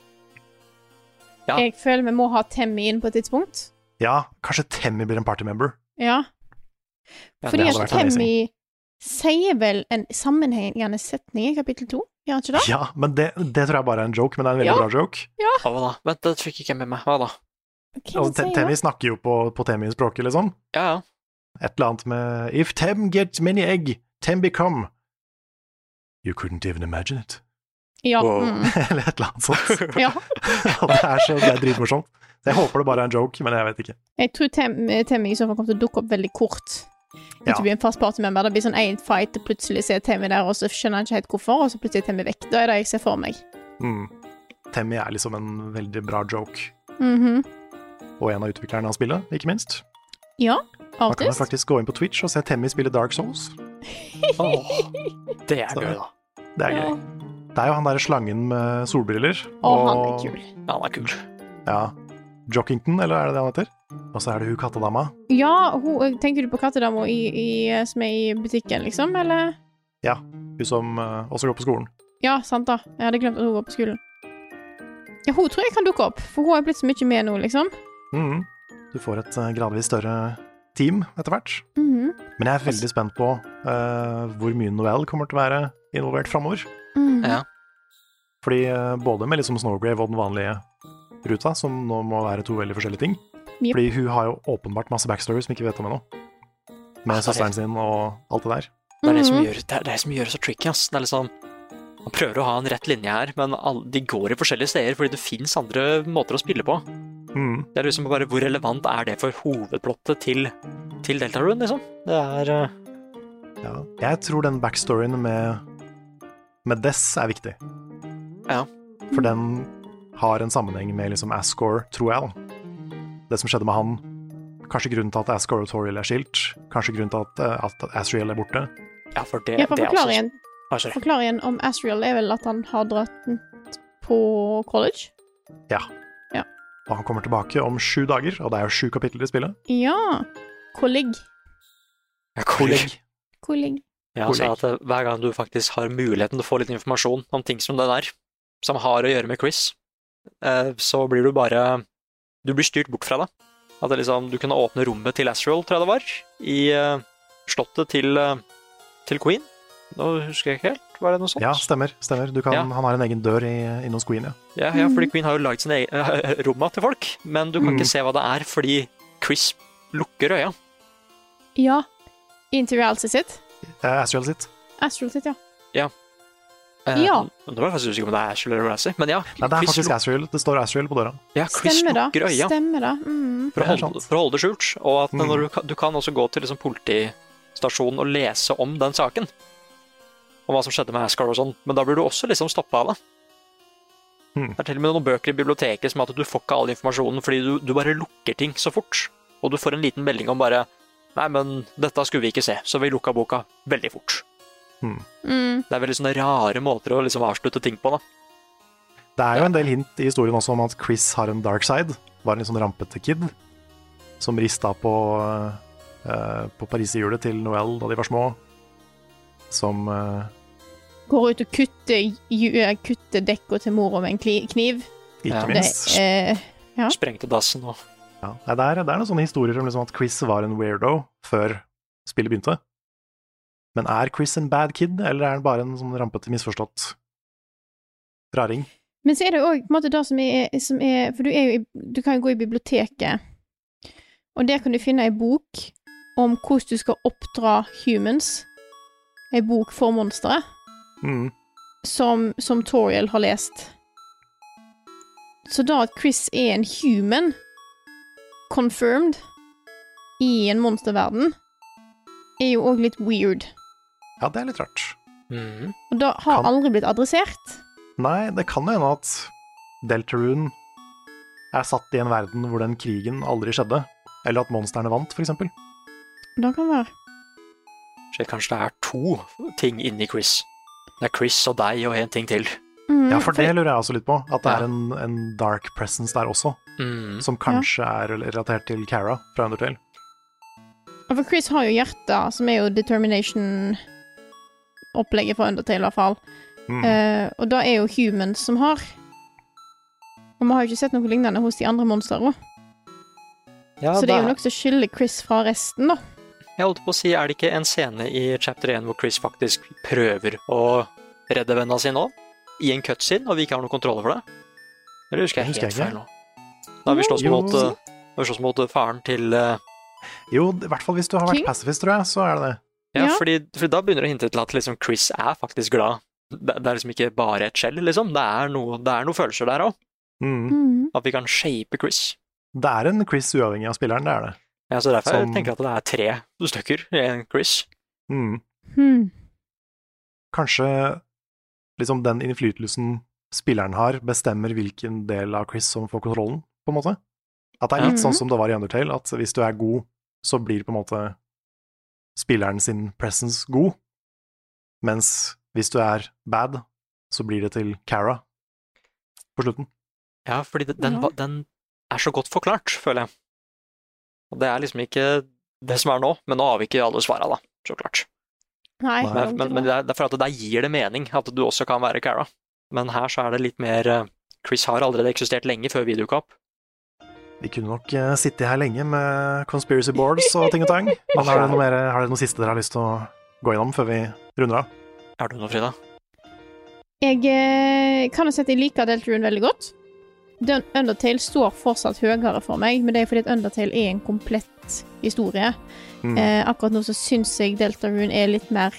Ja. Jeg føler vi må ha Temmy inn på et tidspunkt. Ja, kanskje Temmy blir en partymember. Ja. Ja, Fordi det hadde at vært amazing. Temmy sier vel en sammenhengende setning i kapittel to, gjør han ikke det? Ja, men det, det tror jeg bare er en joke, men det er en veldig Ja. bra joke. Ah, hva da? Vent, det fikk ikke jeg med meg. Hva da? Hva er Og det han Te- sier da? Temmy Altså, snakker jo på, på Temmy-språket, liksom. Ja, ja. Et eller annet med If Tem get many egg, Tem become You couldn't even imagine it. <laughs> Ja. Wow. Mm. eller et eller annet sånt. <laughs> ja. <laughs> Og det er, så, det er dritmorsomt. Så Jeg håper det bare er en joke, men jeg vet ikke. Jeg tror Tem- Temmy i så fall kommer til å dukke opp veldig kort. Ja. Ikke bli en fast partymember. Det blir sånn én fight, og plutselig ser Temmy der, og så skjønner han ikke helt hvorfor, og så plutselig er Temmy vekk. Da er det jeg ser for meg. Mm. Temmy er liksom en veldig bra joke, Mhm. og en av utviklerne av spillet, ikke minst. Ja. Man kan jo Artist. faktisk gå inn på Twitch og se Temmy spille Dark <laughs> Souls. Åh, det er Så- gøy, da. Det er Ja. gøy. Det er jo han derre slangen med solbriller. Å, han er kul. Ja, han er kul. Ja. Jockington, eller er det det han heter? Og så er det hun kattedama. Ja, hun, tenker du på kattedama i, i, eh, som er i butikken, liksom? Eller? Hun som eh, også går på skolen. Ja, sant da. Jeg hadde glemt at hun var på skolen. Ja, hun tror jeg kan dukke opp, for hun er blitt så mye med nå, liksom. Mhm. Du får et eh, gradvis større team etter hvert. Mhm. Men jeg er veldig spent på eh, hvor mye Noel kommer til å være involvert framover. Mhm. Ja. Fordi eh, både med liksom Snowgrave og den vanlige ruta, som nå må være to veldig forskjellige ting. Jep. Fordi hun har jo åpenbart masse backstory som vi ikke vet om ennå. Med Altså, søsteren sin og alt det der. Det er det som Mhm. gjør det, er det, som gjør det så tricky, ass. Det er liksom Man prøver å ha en rett linje her, men alle, de går i forskjellige steder fordi det fins andre måter å spille på. Mhm. Det er liksom bare hvor relevant er det for hovedplottet til, til Deltarune, liksom? Det er eh, Ja. Jeg tror den backstoryen med, med Dess er viktig. Ja. For den har en sammenheng med liksom Ascor, tror jeg. da. Det som skjedde med han. Kanskje grunnen til at Ascor og Toriel er skilt. Kanskje grunnen til at, eh, at Asriel er borte. Ja, for det, Jeg får det er forklare altså igjen, Ah, sorry. forklare igjen om Asriel er vel at han har dratt på college? Og han kommer tilbake om sju dager, og det er jo sju kapitler i spillet. Ja. Kolleg. Ja, kolleg. Kolleg. Ja, så at eh, hver gang du faktisk har muligheten til å få litt informasjon om ting som det der, som har å gjøre med Chris, eh, så blir du bare Du blir styrt bort fra det. At det liksom, du kunne åpne rommet til Astral, tror jeg det var, i eh, slottet til, eh, til Queen. Nå husker jeg ikke helt. Var det noe sånt? Ja, stemmer. stemmer. Du kan, Ja. Han har en egen dør i, inne hos Queen, ja. Ja, ja, Mm. fordi Queen har jo lagd sine e-, <laughs> egne romma til folk, men du kan Mm. ikke se hva det er fordi Chris lukker øya. Ja. Interreality sitt. Eh, Asriel sitt. Asriel sitt, ja. Eh, Ja. Nå var jeg faktisk usikker på om det er Ashley eller Razzie, men ja. Nei, det er Chris faktisk luk- Asriel. Det står Asriel på døra. ja, Chris Stemmer lukker det. øya. Stemmer det. Mm. For å, Det er holde, sant. for å holde det skjult. Og at Mm. når du, kan- du kan også gå til liksom politistasjonen og lese om den saken. Om hva som skjedde med Asgard og sånn. Men da blir du også liksom stoppa av det. Mm. Det er til og med noen bøker i biblioteket som er at du får ikke all informasjonen fordi du, du bare lukker ting så fort. Og du får en liten melding om bare Nei, men dette skulle vi ikke se, så vi lukka boka veldig fort. Mm. Det er veldig sånne rare måter å liksom avslutte ting på, da. Det er jo en del hint i historien også om at Chris har en dark side. Var en litt sånn rampete kid som rista på, eh, på pariserhjulet til Noel da de var små. Som eh, Går ut og kutter, ju- kutter dekka til mora med en kli- kniv. ikke Ja. Det minst er Ja. Sprengte dassen og ja. Nei, det, er, det er noen sånne historier om liksom at Chris var en weirdo før spillet begynte. Men er Chris en bad kid, eller er han bare en sånn rampete, misforstått raring? Men så er det jo òg på en måte det som er, som er For du, er jo i, du kan jo gå i biblioteket, og der kan du finne ei bok om hvordan du skal oppdra humans. Ei bok for monstre Mm. som, som Toriel har lest. Så da at Chris er en human, confirmed, i en monsterverden, er jo òg litt weird. Ja, det er litt rart. Mm. Mhm. Og det har Kan- aldri blitt adressert. Nei, det kan jo hende at Deltarune er satt i en verden hvor den krigen aldri skjedde. Eller at monstrene vant, f.eks. Det kan være. Så kanskje det er to ting inni Chris. Det er Chris og deg og en ting til. Mhm, Ja, for det fordi- lurer jeg også litt på. At det Ja. er en, en dark presence der også, Mm. som kanskje er relatert til Cara fra Undertale. ja, for Chris har jo hjertet, som er jo determination-opplegget for Undertale, i hvert fall. Mm. Eh, og da er jo humans som har. Og vi har jo ikke sett noe lignende hos de andre monstrene. Ja, så det er da- jo noe som skiller Chris fra resten, da. Jeg holdt på å si, er det ikke en scene i chapter 1 hvor Chris faktisk prøver å redde vennene sine òg? I en cutscene, og vi ikke har noen kontroll over det? Eller husker jeg Det husker helt jeg feil nå? Da vi slåss Jo. mot, eh, da vi slåss mot eh, faren til eh, Jo, i hvert fall hvis du har vært King? pacifist, tror jeg, så er det det. Ja, Ja. Fordi, fordi da begynner det å hinte til at liksom Chris er faktisk glad. Det, det er liksom ikke bare et skjell, liksom. Det er noe, det er noe følelser der òg. Mm. Mhm. At vi kan shape Chris. Det er en Chris uavhengig av spilleren, det er det. Ja, så derfor Som- tenker jeg at det er tre stykker i en Chris. Mm. Mhm. Kanskje liksom den innflytelsen spilleren har, bestemmer hvilken del av Chris som får kontrollen, på en måte. At det er litt Ja. sånn som det var i Undertale, at hvis du er god, så blir på en måte spilleren sin presence god, mens hvis du er bad, så blir det til Cara på slutten. Ja, fordi de- den, Ja. va- den er så godt forklart, føler jeg. Og det er liksom ikke det som er nå, men nå har vi ikke alle svara, da, så klart. Nei. Nei, Men, men, men det er det er for at der gir det mening at du også kan være Cara. Men her så er det litt mer eh, Chris har allerede eksistert lenge før vi dukka opp. Vi kunne nok eh, sittet her lenge med conspiracy boards og ting og tang, men har dere noe, mer, har dere noe siste dere har lyst til å gå innom før vi runder av? Er du noe, Frida? Jeg eh, kan jo si at jeg liker Delta Rune veldig godt. Den Undertale står fortsatt høyere for meg, men det er fordi at Undertale er en komplett historie. Mm. Eh, akkurat nå så syns jeg Delta Rune er litt mer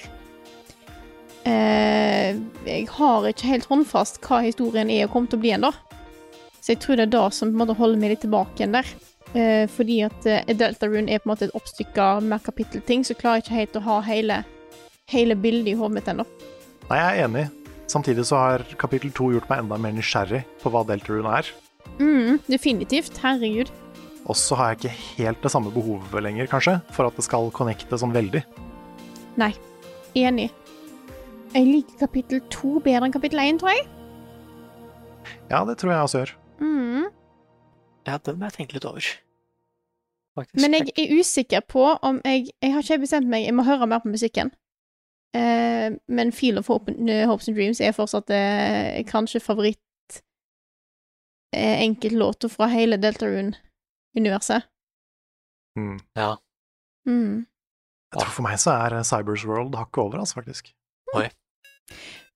eh, Jeg har ikke helt håndfast hva historien er og kommer til å bli ennå. Så jeg tror det er det som på en måte holder meg litt tilbake igjen der. Eh, fordi at eh, Delta Rune er på en måte et oppstykka mer kapittelting, så klarer jeg ikke helt å ha hele, hele bildet i hodet mitt ennå. Nei, jeg er enig. Samtidig så har kapittel to gjort meg enda mer nysgjerrig på hva Deltarune er. Mm, definitivt. Herregud. Og så har jeg ikke helt det samme behovet lenger, kanskje, for at det skal connecte sånn veldig. Nei. Enig. Jeg liker kapittel to bedre enn kapittel én, tror jeg. Ja, det tror jeg også gjør. Mm. Ja, den må jeg tenke litt over. Faktisk. Men jeg er usikker på om jeg Jeg har ikke bestemt meg, jeg må høre mer på musikken. Eh, men Feel of Hope, eh, Hopes and Dreams er fortsatt eh, kanskje favoritt eh, enkeltlåta fra hele Deltarune-universet. Mm. Ja. Mm. Jeg tror for meg så er eh, Cybers World hakket over, altså, faktisk.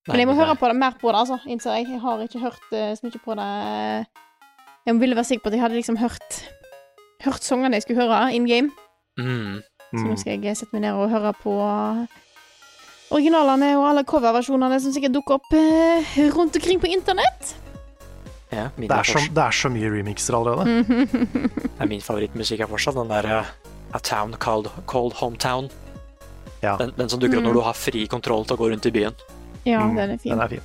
Men jeg må Nei, høre nei. på det, mer på det, altså, innser jeg. Jeg har ikke hørt eh, så mye på det. Jeg ville være sikker på at jeg hadde liksom hørt Hørt sangene jeg skulle høre in game. Mm. Så nå Mm. skal jeg sette meg ned og høre på originalene og alle coverversjonene som sikkert dukker opp eh, rundt omkring på internett. Ja, min Det er Mm, er, så, fortsatt- det er så mye remixer allerede. Nei, min favorittmusikk er fortsatt den der eh, A Town Called, Called Hometown. Ja. Den, den som dukker Mm. opp når du har fri kontroll til å gå rundt i byen. ja, Mm, den er fin. Den er fin.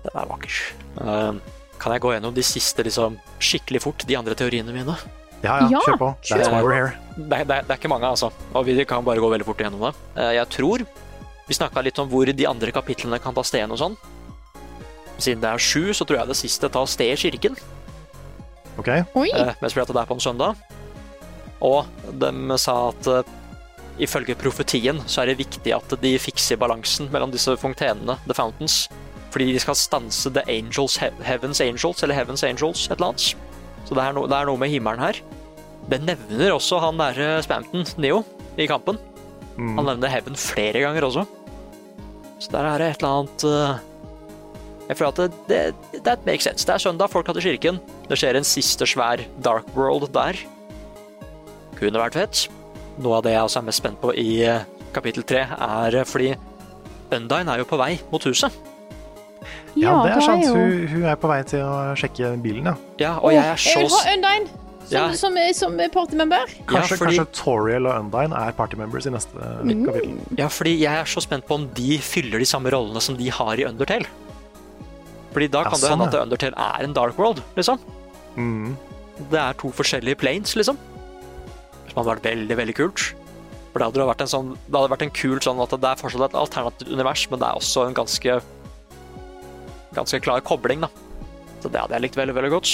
Den er vakker. Ehm, kan jeg gå gjennom de siste liksom, skikkelig fort, de andre teoriene mine? Ja, ja, Ja, kjør på. That's kjør. why we're here. Det, er- det, er- det er ikke mange, altså. Og vi kan bare gå veldig fort gjennom det. Eh, jeg tror vi snakka litt om hvor de andre kapitlene kan ta sted hen og sånn. Siden det er sju, så tror jeg det siste tar sted i kirken. Ok? Oi! Eh, mest fordi at det er på en søndag. Og de sa at eh, ifølge profetien så er det viktig at de fikser balansen mellom disse fontenene, the fountains, fordi de skal stanse the angels, he heavens angels, eller heavens angels, et eller annet. Så det er, no det er noe med himmelen her. Det nevner også han derre Spamton, Neo, i kampen. Han Mm. nevner Heaven flere ganger også. Så der er det et eller annet eh, Jeg føler at det, det, that makes sense. Det er søndag, folk har til kirken. Det skjer en siste svær dark world der. Kunne vært fett. Noe av det jeg også er mest spent på i eh, kapittel tre, er eh, fordi Undine er jo på vei mot huset. Ja, det er sant. jo- Hun, hun er på vei til å sjekke bilen, ja. Ja, og jeg er så Jeg vil ha Undine som, Ja. som, som, partymember. Kanskje, ja, fordi, kanskje Toriel og Undine er partymembers i neste eh, kapittel. Ja, fordi jeg er så spent på om de fyller de samme rollene som de har i Undertale. Fordi da Ja, kan det sånn, hende at ja. Undertale er en dark world, liksom. Mm. Det er to forskjellige planes, liksom. Som hadde vært veldig, veldig kult. For det hadde, jo vært en sånn, det hadde vært en kul sånn at det er fortsatt et alternativt univers, men det er også en ganske ganske klar kobling, da. Så det hadde jeg likt veldig, veldig godt.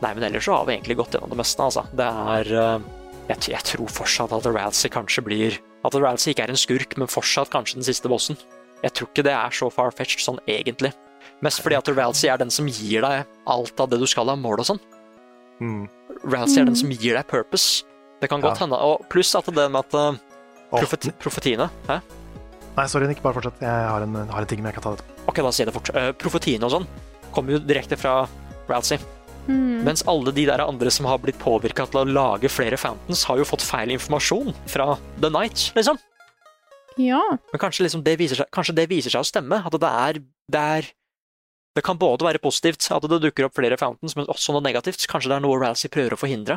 Nei, men ellers så har vi egentlig gått gjennom det meste, altså. Det er eh, Jeg, t- jeg tror fortsatt at Ralsei kanskje blir At Ralsei ikke er en skurk, men fortsatt kanskje den siste bossen. Jeg tror ikke det er så far-fetched sånn egentlig. Mest fordi at Ralsei er den som gir deg alt av det du skal av mål og sånn. Mm. Ralsei er den som gir deg purpose. Det kan godt Ja. hende. Og pluss at det med at eh, Åh, profet, profetiene Hæ? Nei, sorry, Nick, bare fortsett. Jeg har en, har en ting, men jeg kan ta det etterpå. Ok, da sier jeg det fort. Eh, profetiene og sånn kommer jo direkte fra Ralsei. Mm. Mens alle de der andre som har blitt påvirka til å lage flere fountains, har jo fått feil informasjon fra The Night, liksom. Ja. Men kanskje, liksom det, viser seg, kanskje det viser seg å stemme? At det er, det er Det kan både være positivt at det dukker opp flere fountains, men også noe negativt. Kanskje det er noe Ralsei prøver å forhindre.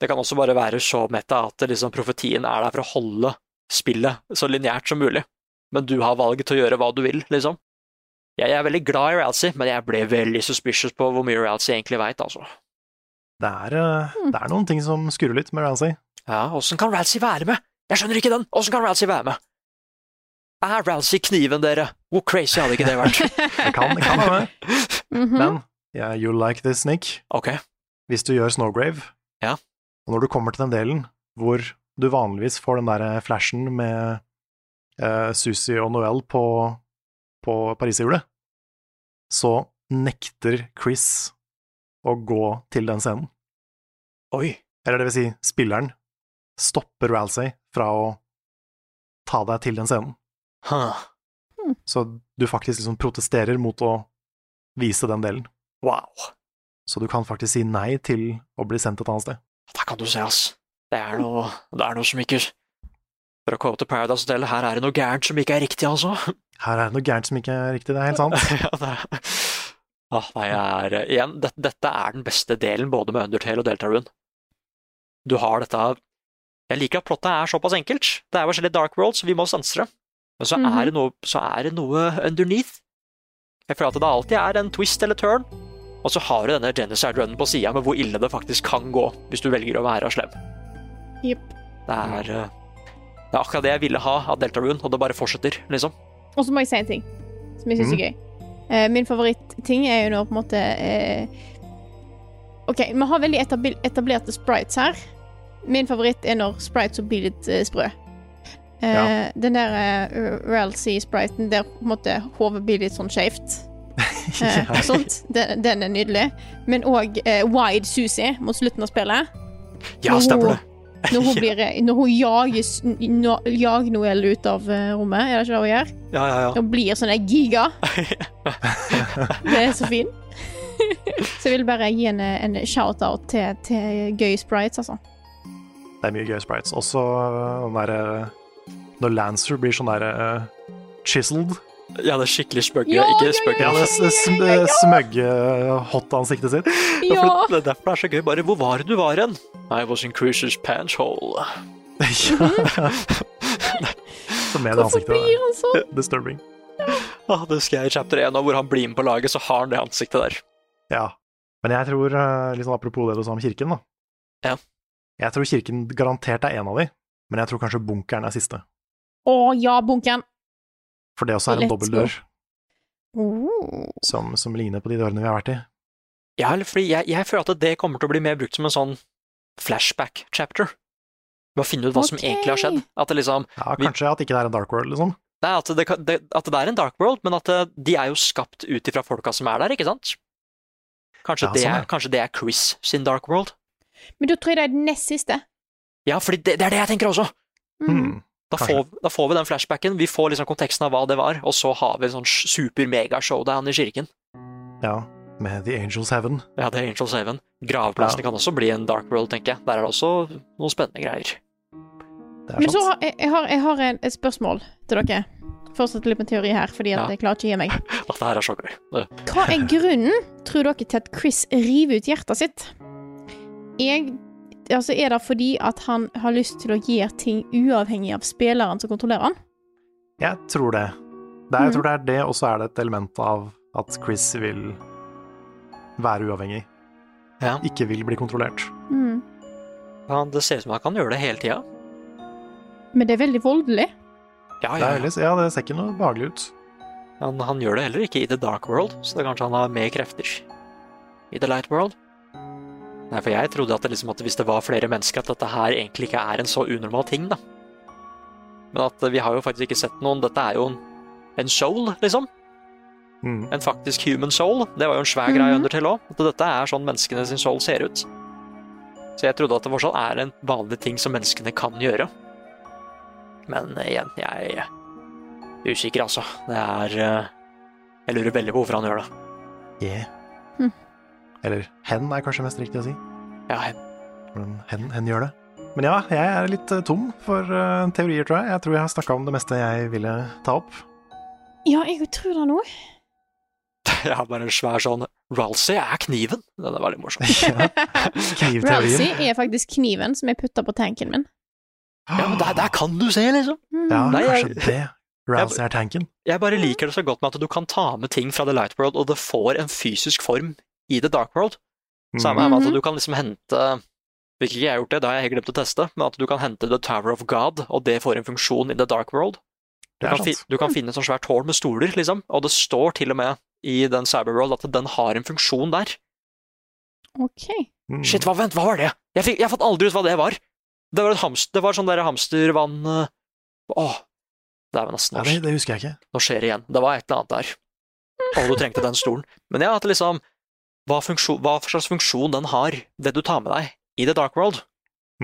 Det kan også bare være så meta at det liksom profetien er der for å holde spillet så lineært som mulig. Men du har valget til å gjøre hva du vil, liksom. Jeg er veldig glad i Ralsei, men jeg ble veldig suspicious på hvor mye Ralsei egentlig veit, altså. Det er, eh, det er noen ting som skurrer litt med Rancy. Ja, åssen kan Ralsei være med? Jeg skjønner ikke den! Åssen kan Ralsei være med? Er Ralsei kniven, dere? Hvor crazy hadde ikke det vært? Det kan, det kan være. Mhm. Men yeah, you like this, Nick. Ok, Hvis du gjør Snowgrave, Ja. og når du kommer til den delen hvor du vanligvis får den der eh, flashen med eh, Susi og Noel på, på pariserhjulet, så nekter Chris å gå til den scenen. oi. Eller det vil si, spilleren stopper Ralsei fra å ta deg til den scenen. Huh. Så du faktisk liksom protesterer mot å vise den delen. Wow. Så du kan faktisk si nei til å bli sendt et annet sted. Der kan du se, ass. Det er noe, det er noe som ikke For å komme til Paradise Hotel, her er det noe gærent som ikke er riktig, altså. Her er det noe gærent som ikke er riktig, det er helt sant. <laughs> ja, det er... Ah, nei, jeg er Igjen, det, dette er den beste delen både med Undertale og Deltarune. Du har dette Jeg liker at plottet er såpass enkelt. Det er forskjellige dark worlds, vi må sanse det. Men så Mhm. er det noe, så er det noe underneath. Jeg føler at det alltid er en twist eller turn. Og så har du denne genocide-runnen på sida med hvor ille det faktisk kan gå hvis du velger å være slem. Jepp. Det er, eh, det er akkurat det jeg ville ha av Deltarune, og det bare fortsetter, liksom. Og så må jeg si en ting som jeg Mhm. syns er gøy. Eh, min favoritt-ting er jo nå på en måte eh, OK, vi har veldig etabil- etablerte sprites her. Min favoritt er når sprites blir litt eh, sprø. Eh, Ja. Den der uh, Realsea-spriten der på en måte hodet blir litt <laughs> sånn skjevt. Eh, og sånt. Den, den er nydelig. Men òg eh, Wide Susi mot slutten av spillet. Ja, stemmer det. Når <laughs> hun, blir, eh, når hun jager, s- nå- jager Noel ut av eh, rommet, er det ikke det hun gjør? Ja, ja, ja. Hun blir sånn der <laughs> giga. Det er så fin. <laughs> så jeg vil bare gi en, en shout-out til, til gøy sprites, altså. Det er mye gøy sprites. Også øh, den derre øh, Når Lancer blir sånn derre øh, chiseled Ja, det er skikkelig spøkere. Ja, ja, ikke ja, spøkere. Ja, det det, s- sm øh, smøgge hot-ansiktet sitt. er <laughs> Ja! fordi- det er derfor det er så gøy. Bare hvor var det du var hen? I was in Cruises pants hole. Ja. Så med det Så ansiktet. blir der. han sånn. Disturbing. Ah, det skal jeg i chapter 1, og hvor han blir med på laget, så har han det ansiktet der. Ja. Men jeg tror, øh, litt sånn apropos det du sa om kirken, da Ja. Jeg tror kirken garantert er en av de, men jeg tror kanskje bunkeren er siste. Å ja, bunken. For det også er en Let's dobbeltdør Oh. som, som ligner på de dørene vi har vært i. Ja, eller fordi jeg, jeg føler at det kommer til å bli mer brukt som en sånn flashback-chapter. Med å finne ut hva som Ok. egentlig har skjedd. At det liksom Ja, Vi- Kanskje at ikke det er en dark world, liksom. Nei, at det, kan- det, at det er en dark world, men at det, de er jo skapt ut ifra folka som er der, ikke sant? Kanskje, Ja, det, sånn, er, kanskje det er Chris sin dark world? Men da tror jeg det er den nest siste. Ja, fordi det, det er det jeg tenker også! Mm. Hmm. Da Kanskje. får, da får vi den flashbacken, vi får liksom konteksten av hva det var, og så har vi en sånn super-mega-showdown i kirken. Ja, med The Angels Heaven. Ja, det er Angels Haven. Gravplassen kan også bli en dark world, tenker jeg. Der er det også noen spennende greier. Det er Men så sant. har jeg, jeg har, jeg har en, et spørsmål til dere. Fortsatt litt med teori her, fordi at Ja. jeg klarer ikke å gi meg. Dette her er så gøy. Det- <laughs> Hva er grunnen, tror dere, til at Chris river ut hjertet sitt? Jeg, altså er det fordi at han har lyst til å gjøre ting uavhengig av spilleren som kontrollerer han? Jeg tror det. det er, jeg Mm. tror det er det, og så er det et element av at Chris vil være uavhengig. Ja. Ikke vil bli kontrollert. Mm. Ja, det ser ut som han kan gjøre det hele tida. Men det er veldig voldelig. Ja, Det ja, er ja. veldig, ja, det ser ikke noe behagelig ut. Han, han gjør det heller ikke i The Dark World, så det er kanskje han har mer krefter i The Light World. Nei, for jeg trodde at, det liksom, at hvis det var flere mennesker, at dette her egentlig ikke er en så unormal ting, da. Men at eh, vi har jo faktisk ikke sett noen. Dette er jo en, en soul, liksom. Mm. En faktisk human soul. Det var jo en svær greie Mhm. under til òg. At dette er sånn menneskene sin soul ser ut. Så jeg trodde at det fortsatt er en vanlig ting som menneskene kan gjøre. Men eh, igjen, jeg er usikker, altså. Det er eh, Jeg lurer veldig på hvorfor han gjør det. Yeah. Hm. Eller hen er kanskje mest riktig å si. Ja, jeg- <laughs> Men hen, hen gjør det. Men ja, jeg er litt eh, tom for eh, teorier, tror jeg. Jeg tror jeg har snakka om det meste jeg ville ta <laughs> opp. Ja, jeg tror det nå. jeg har bare en svær sånn Ralsei er kniven! Den er veldig morsom. <laughs> Ja, Ralsey Knivteorien. er faktisk kniven som jeg putter på tanken min. Ja, men der, der kan du se, liksom! Mm. <gasps> Ja, Nei, jeg- kanskje det. Rousey er tanken. Jeg bare liker det så godt med at du kan ta med ting fra The Light World, og det får en fysisk form i The Dark World. Samme Mm. er med at Mhm. du kan liksom hente Hvilket ikke jeg har gjort det, det har jeg glemt å teste, men at du kan hente The Tower of God, og det får en funksjon i The Dark World. Du Det er kan, fi, sant. du kan finne et sånt svært tårn med stoler, liksom, og det står til og med i den Cyberworld at den har en funksjon der. <laughs> Ok. Mm. Shit, hva, vent, hva var det? Jeg, fikk, jeg fant aldri ut hva det var. Det var, et hamst, det var sånn der hamstervann... eh, Åh, det er vel nesten Ja, år det, det husker jeg ikke. nå skjer det igjen. Det var et eller annet der. Og du trengte den stolen. Men ja, at liksom hva, funksjon, hva for slags funksjon den har, det du tar med deg i The Dark World.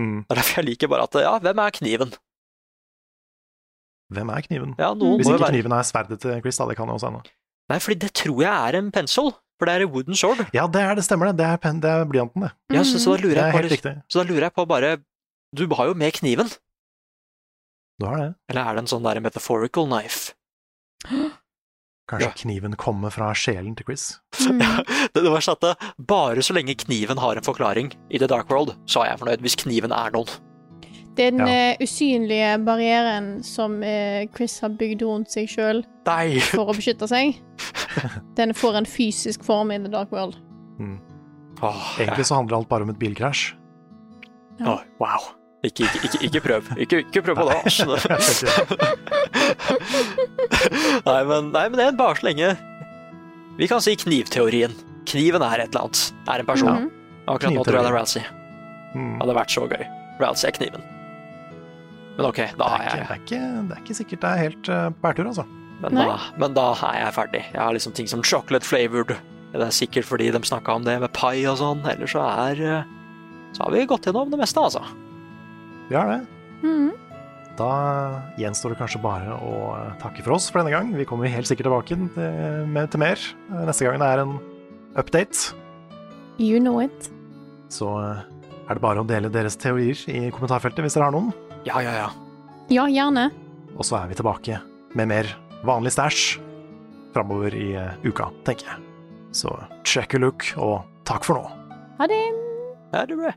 Mm. Det er derfor jeg liker bare at ja, hvem er kniven? Hvem er kniven? Ja, noen Hvis må jo ikke være kniven er sverdet til Chris, da. Det kan jo også hende. Nei, fordi det tror jeg er en pensel. For det er en wooden sword. Ja, det er det stemmer, det. Det er, pen, det er blyanten, det. Ja, så, så, da Mm. Det lurer er jeg helt bare, riktig. så da lurer jeg på bare Du har jo med kniven. Du har det. Eller er det en sånn der metaphorical knife? Kanskje Ja. kniven kommer fra sjelen til Chris. Mm. Det, det var sånn at det- bare så lenge kniven har en forklaring i The Dark World, så er jeg fornøyd. Hvis kniven er noen. Det er den Ja. eh, usynlige barrieren som eh, Chris har bygd rundt seg sjøl Nei! for å beskytte <laughs> seg. Den får en fysisk form i The Dark World. Åh, jeg- <laughs> Egentlig så handler alt bare om et bilkrasj. Å, wow. Ikke, ikke, ikke, ikke prøv. Ikke, ikke prøv på det, altså. <laughs> nei, men, nei, men det er bare så lenge Vi kan si knivteorien. Kniven er et eller annet. Er en person. Mhm. Akkurat nå tror jeg det Knivteorien. er Rousey. Mm. Hadde vært så gøy. Rousey er kniven. Men ok, da Det er, er ikke, det, jeg er ikke, det er ikke sikkert det er helt eh, på bærtur, altså. men da, men da er jeg ferdig. Jeg har liksom ting som chocolate flavored. Det er sikkert fordi de snakka om det med pai og sånn. Ellers så er eh, Så har vi gått gjennom det meste, altså. Vi har det. Mhm. Da gjenstår det kanskje bare å eh, takke for oss for denne gang. Vi kommer helt sikkert tilbake til, med, til mer eh, neste gang det er en update. You know it. Så eh, er det bare å dele deres teorier i kommentarfeltet hvis dere har noen. Ja, ja, ja. Ja, gjerne. Og så er vi tilbake med mer vanlig stæsj framover i eh, uka, tenker jeg. Så check a look, og takk for nå. Ha det. Ja, det er bra.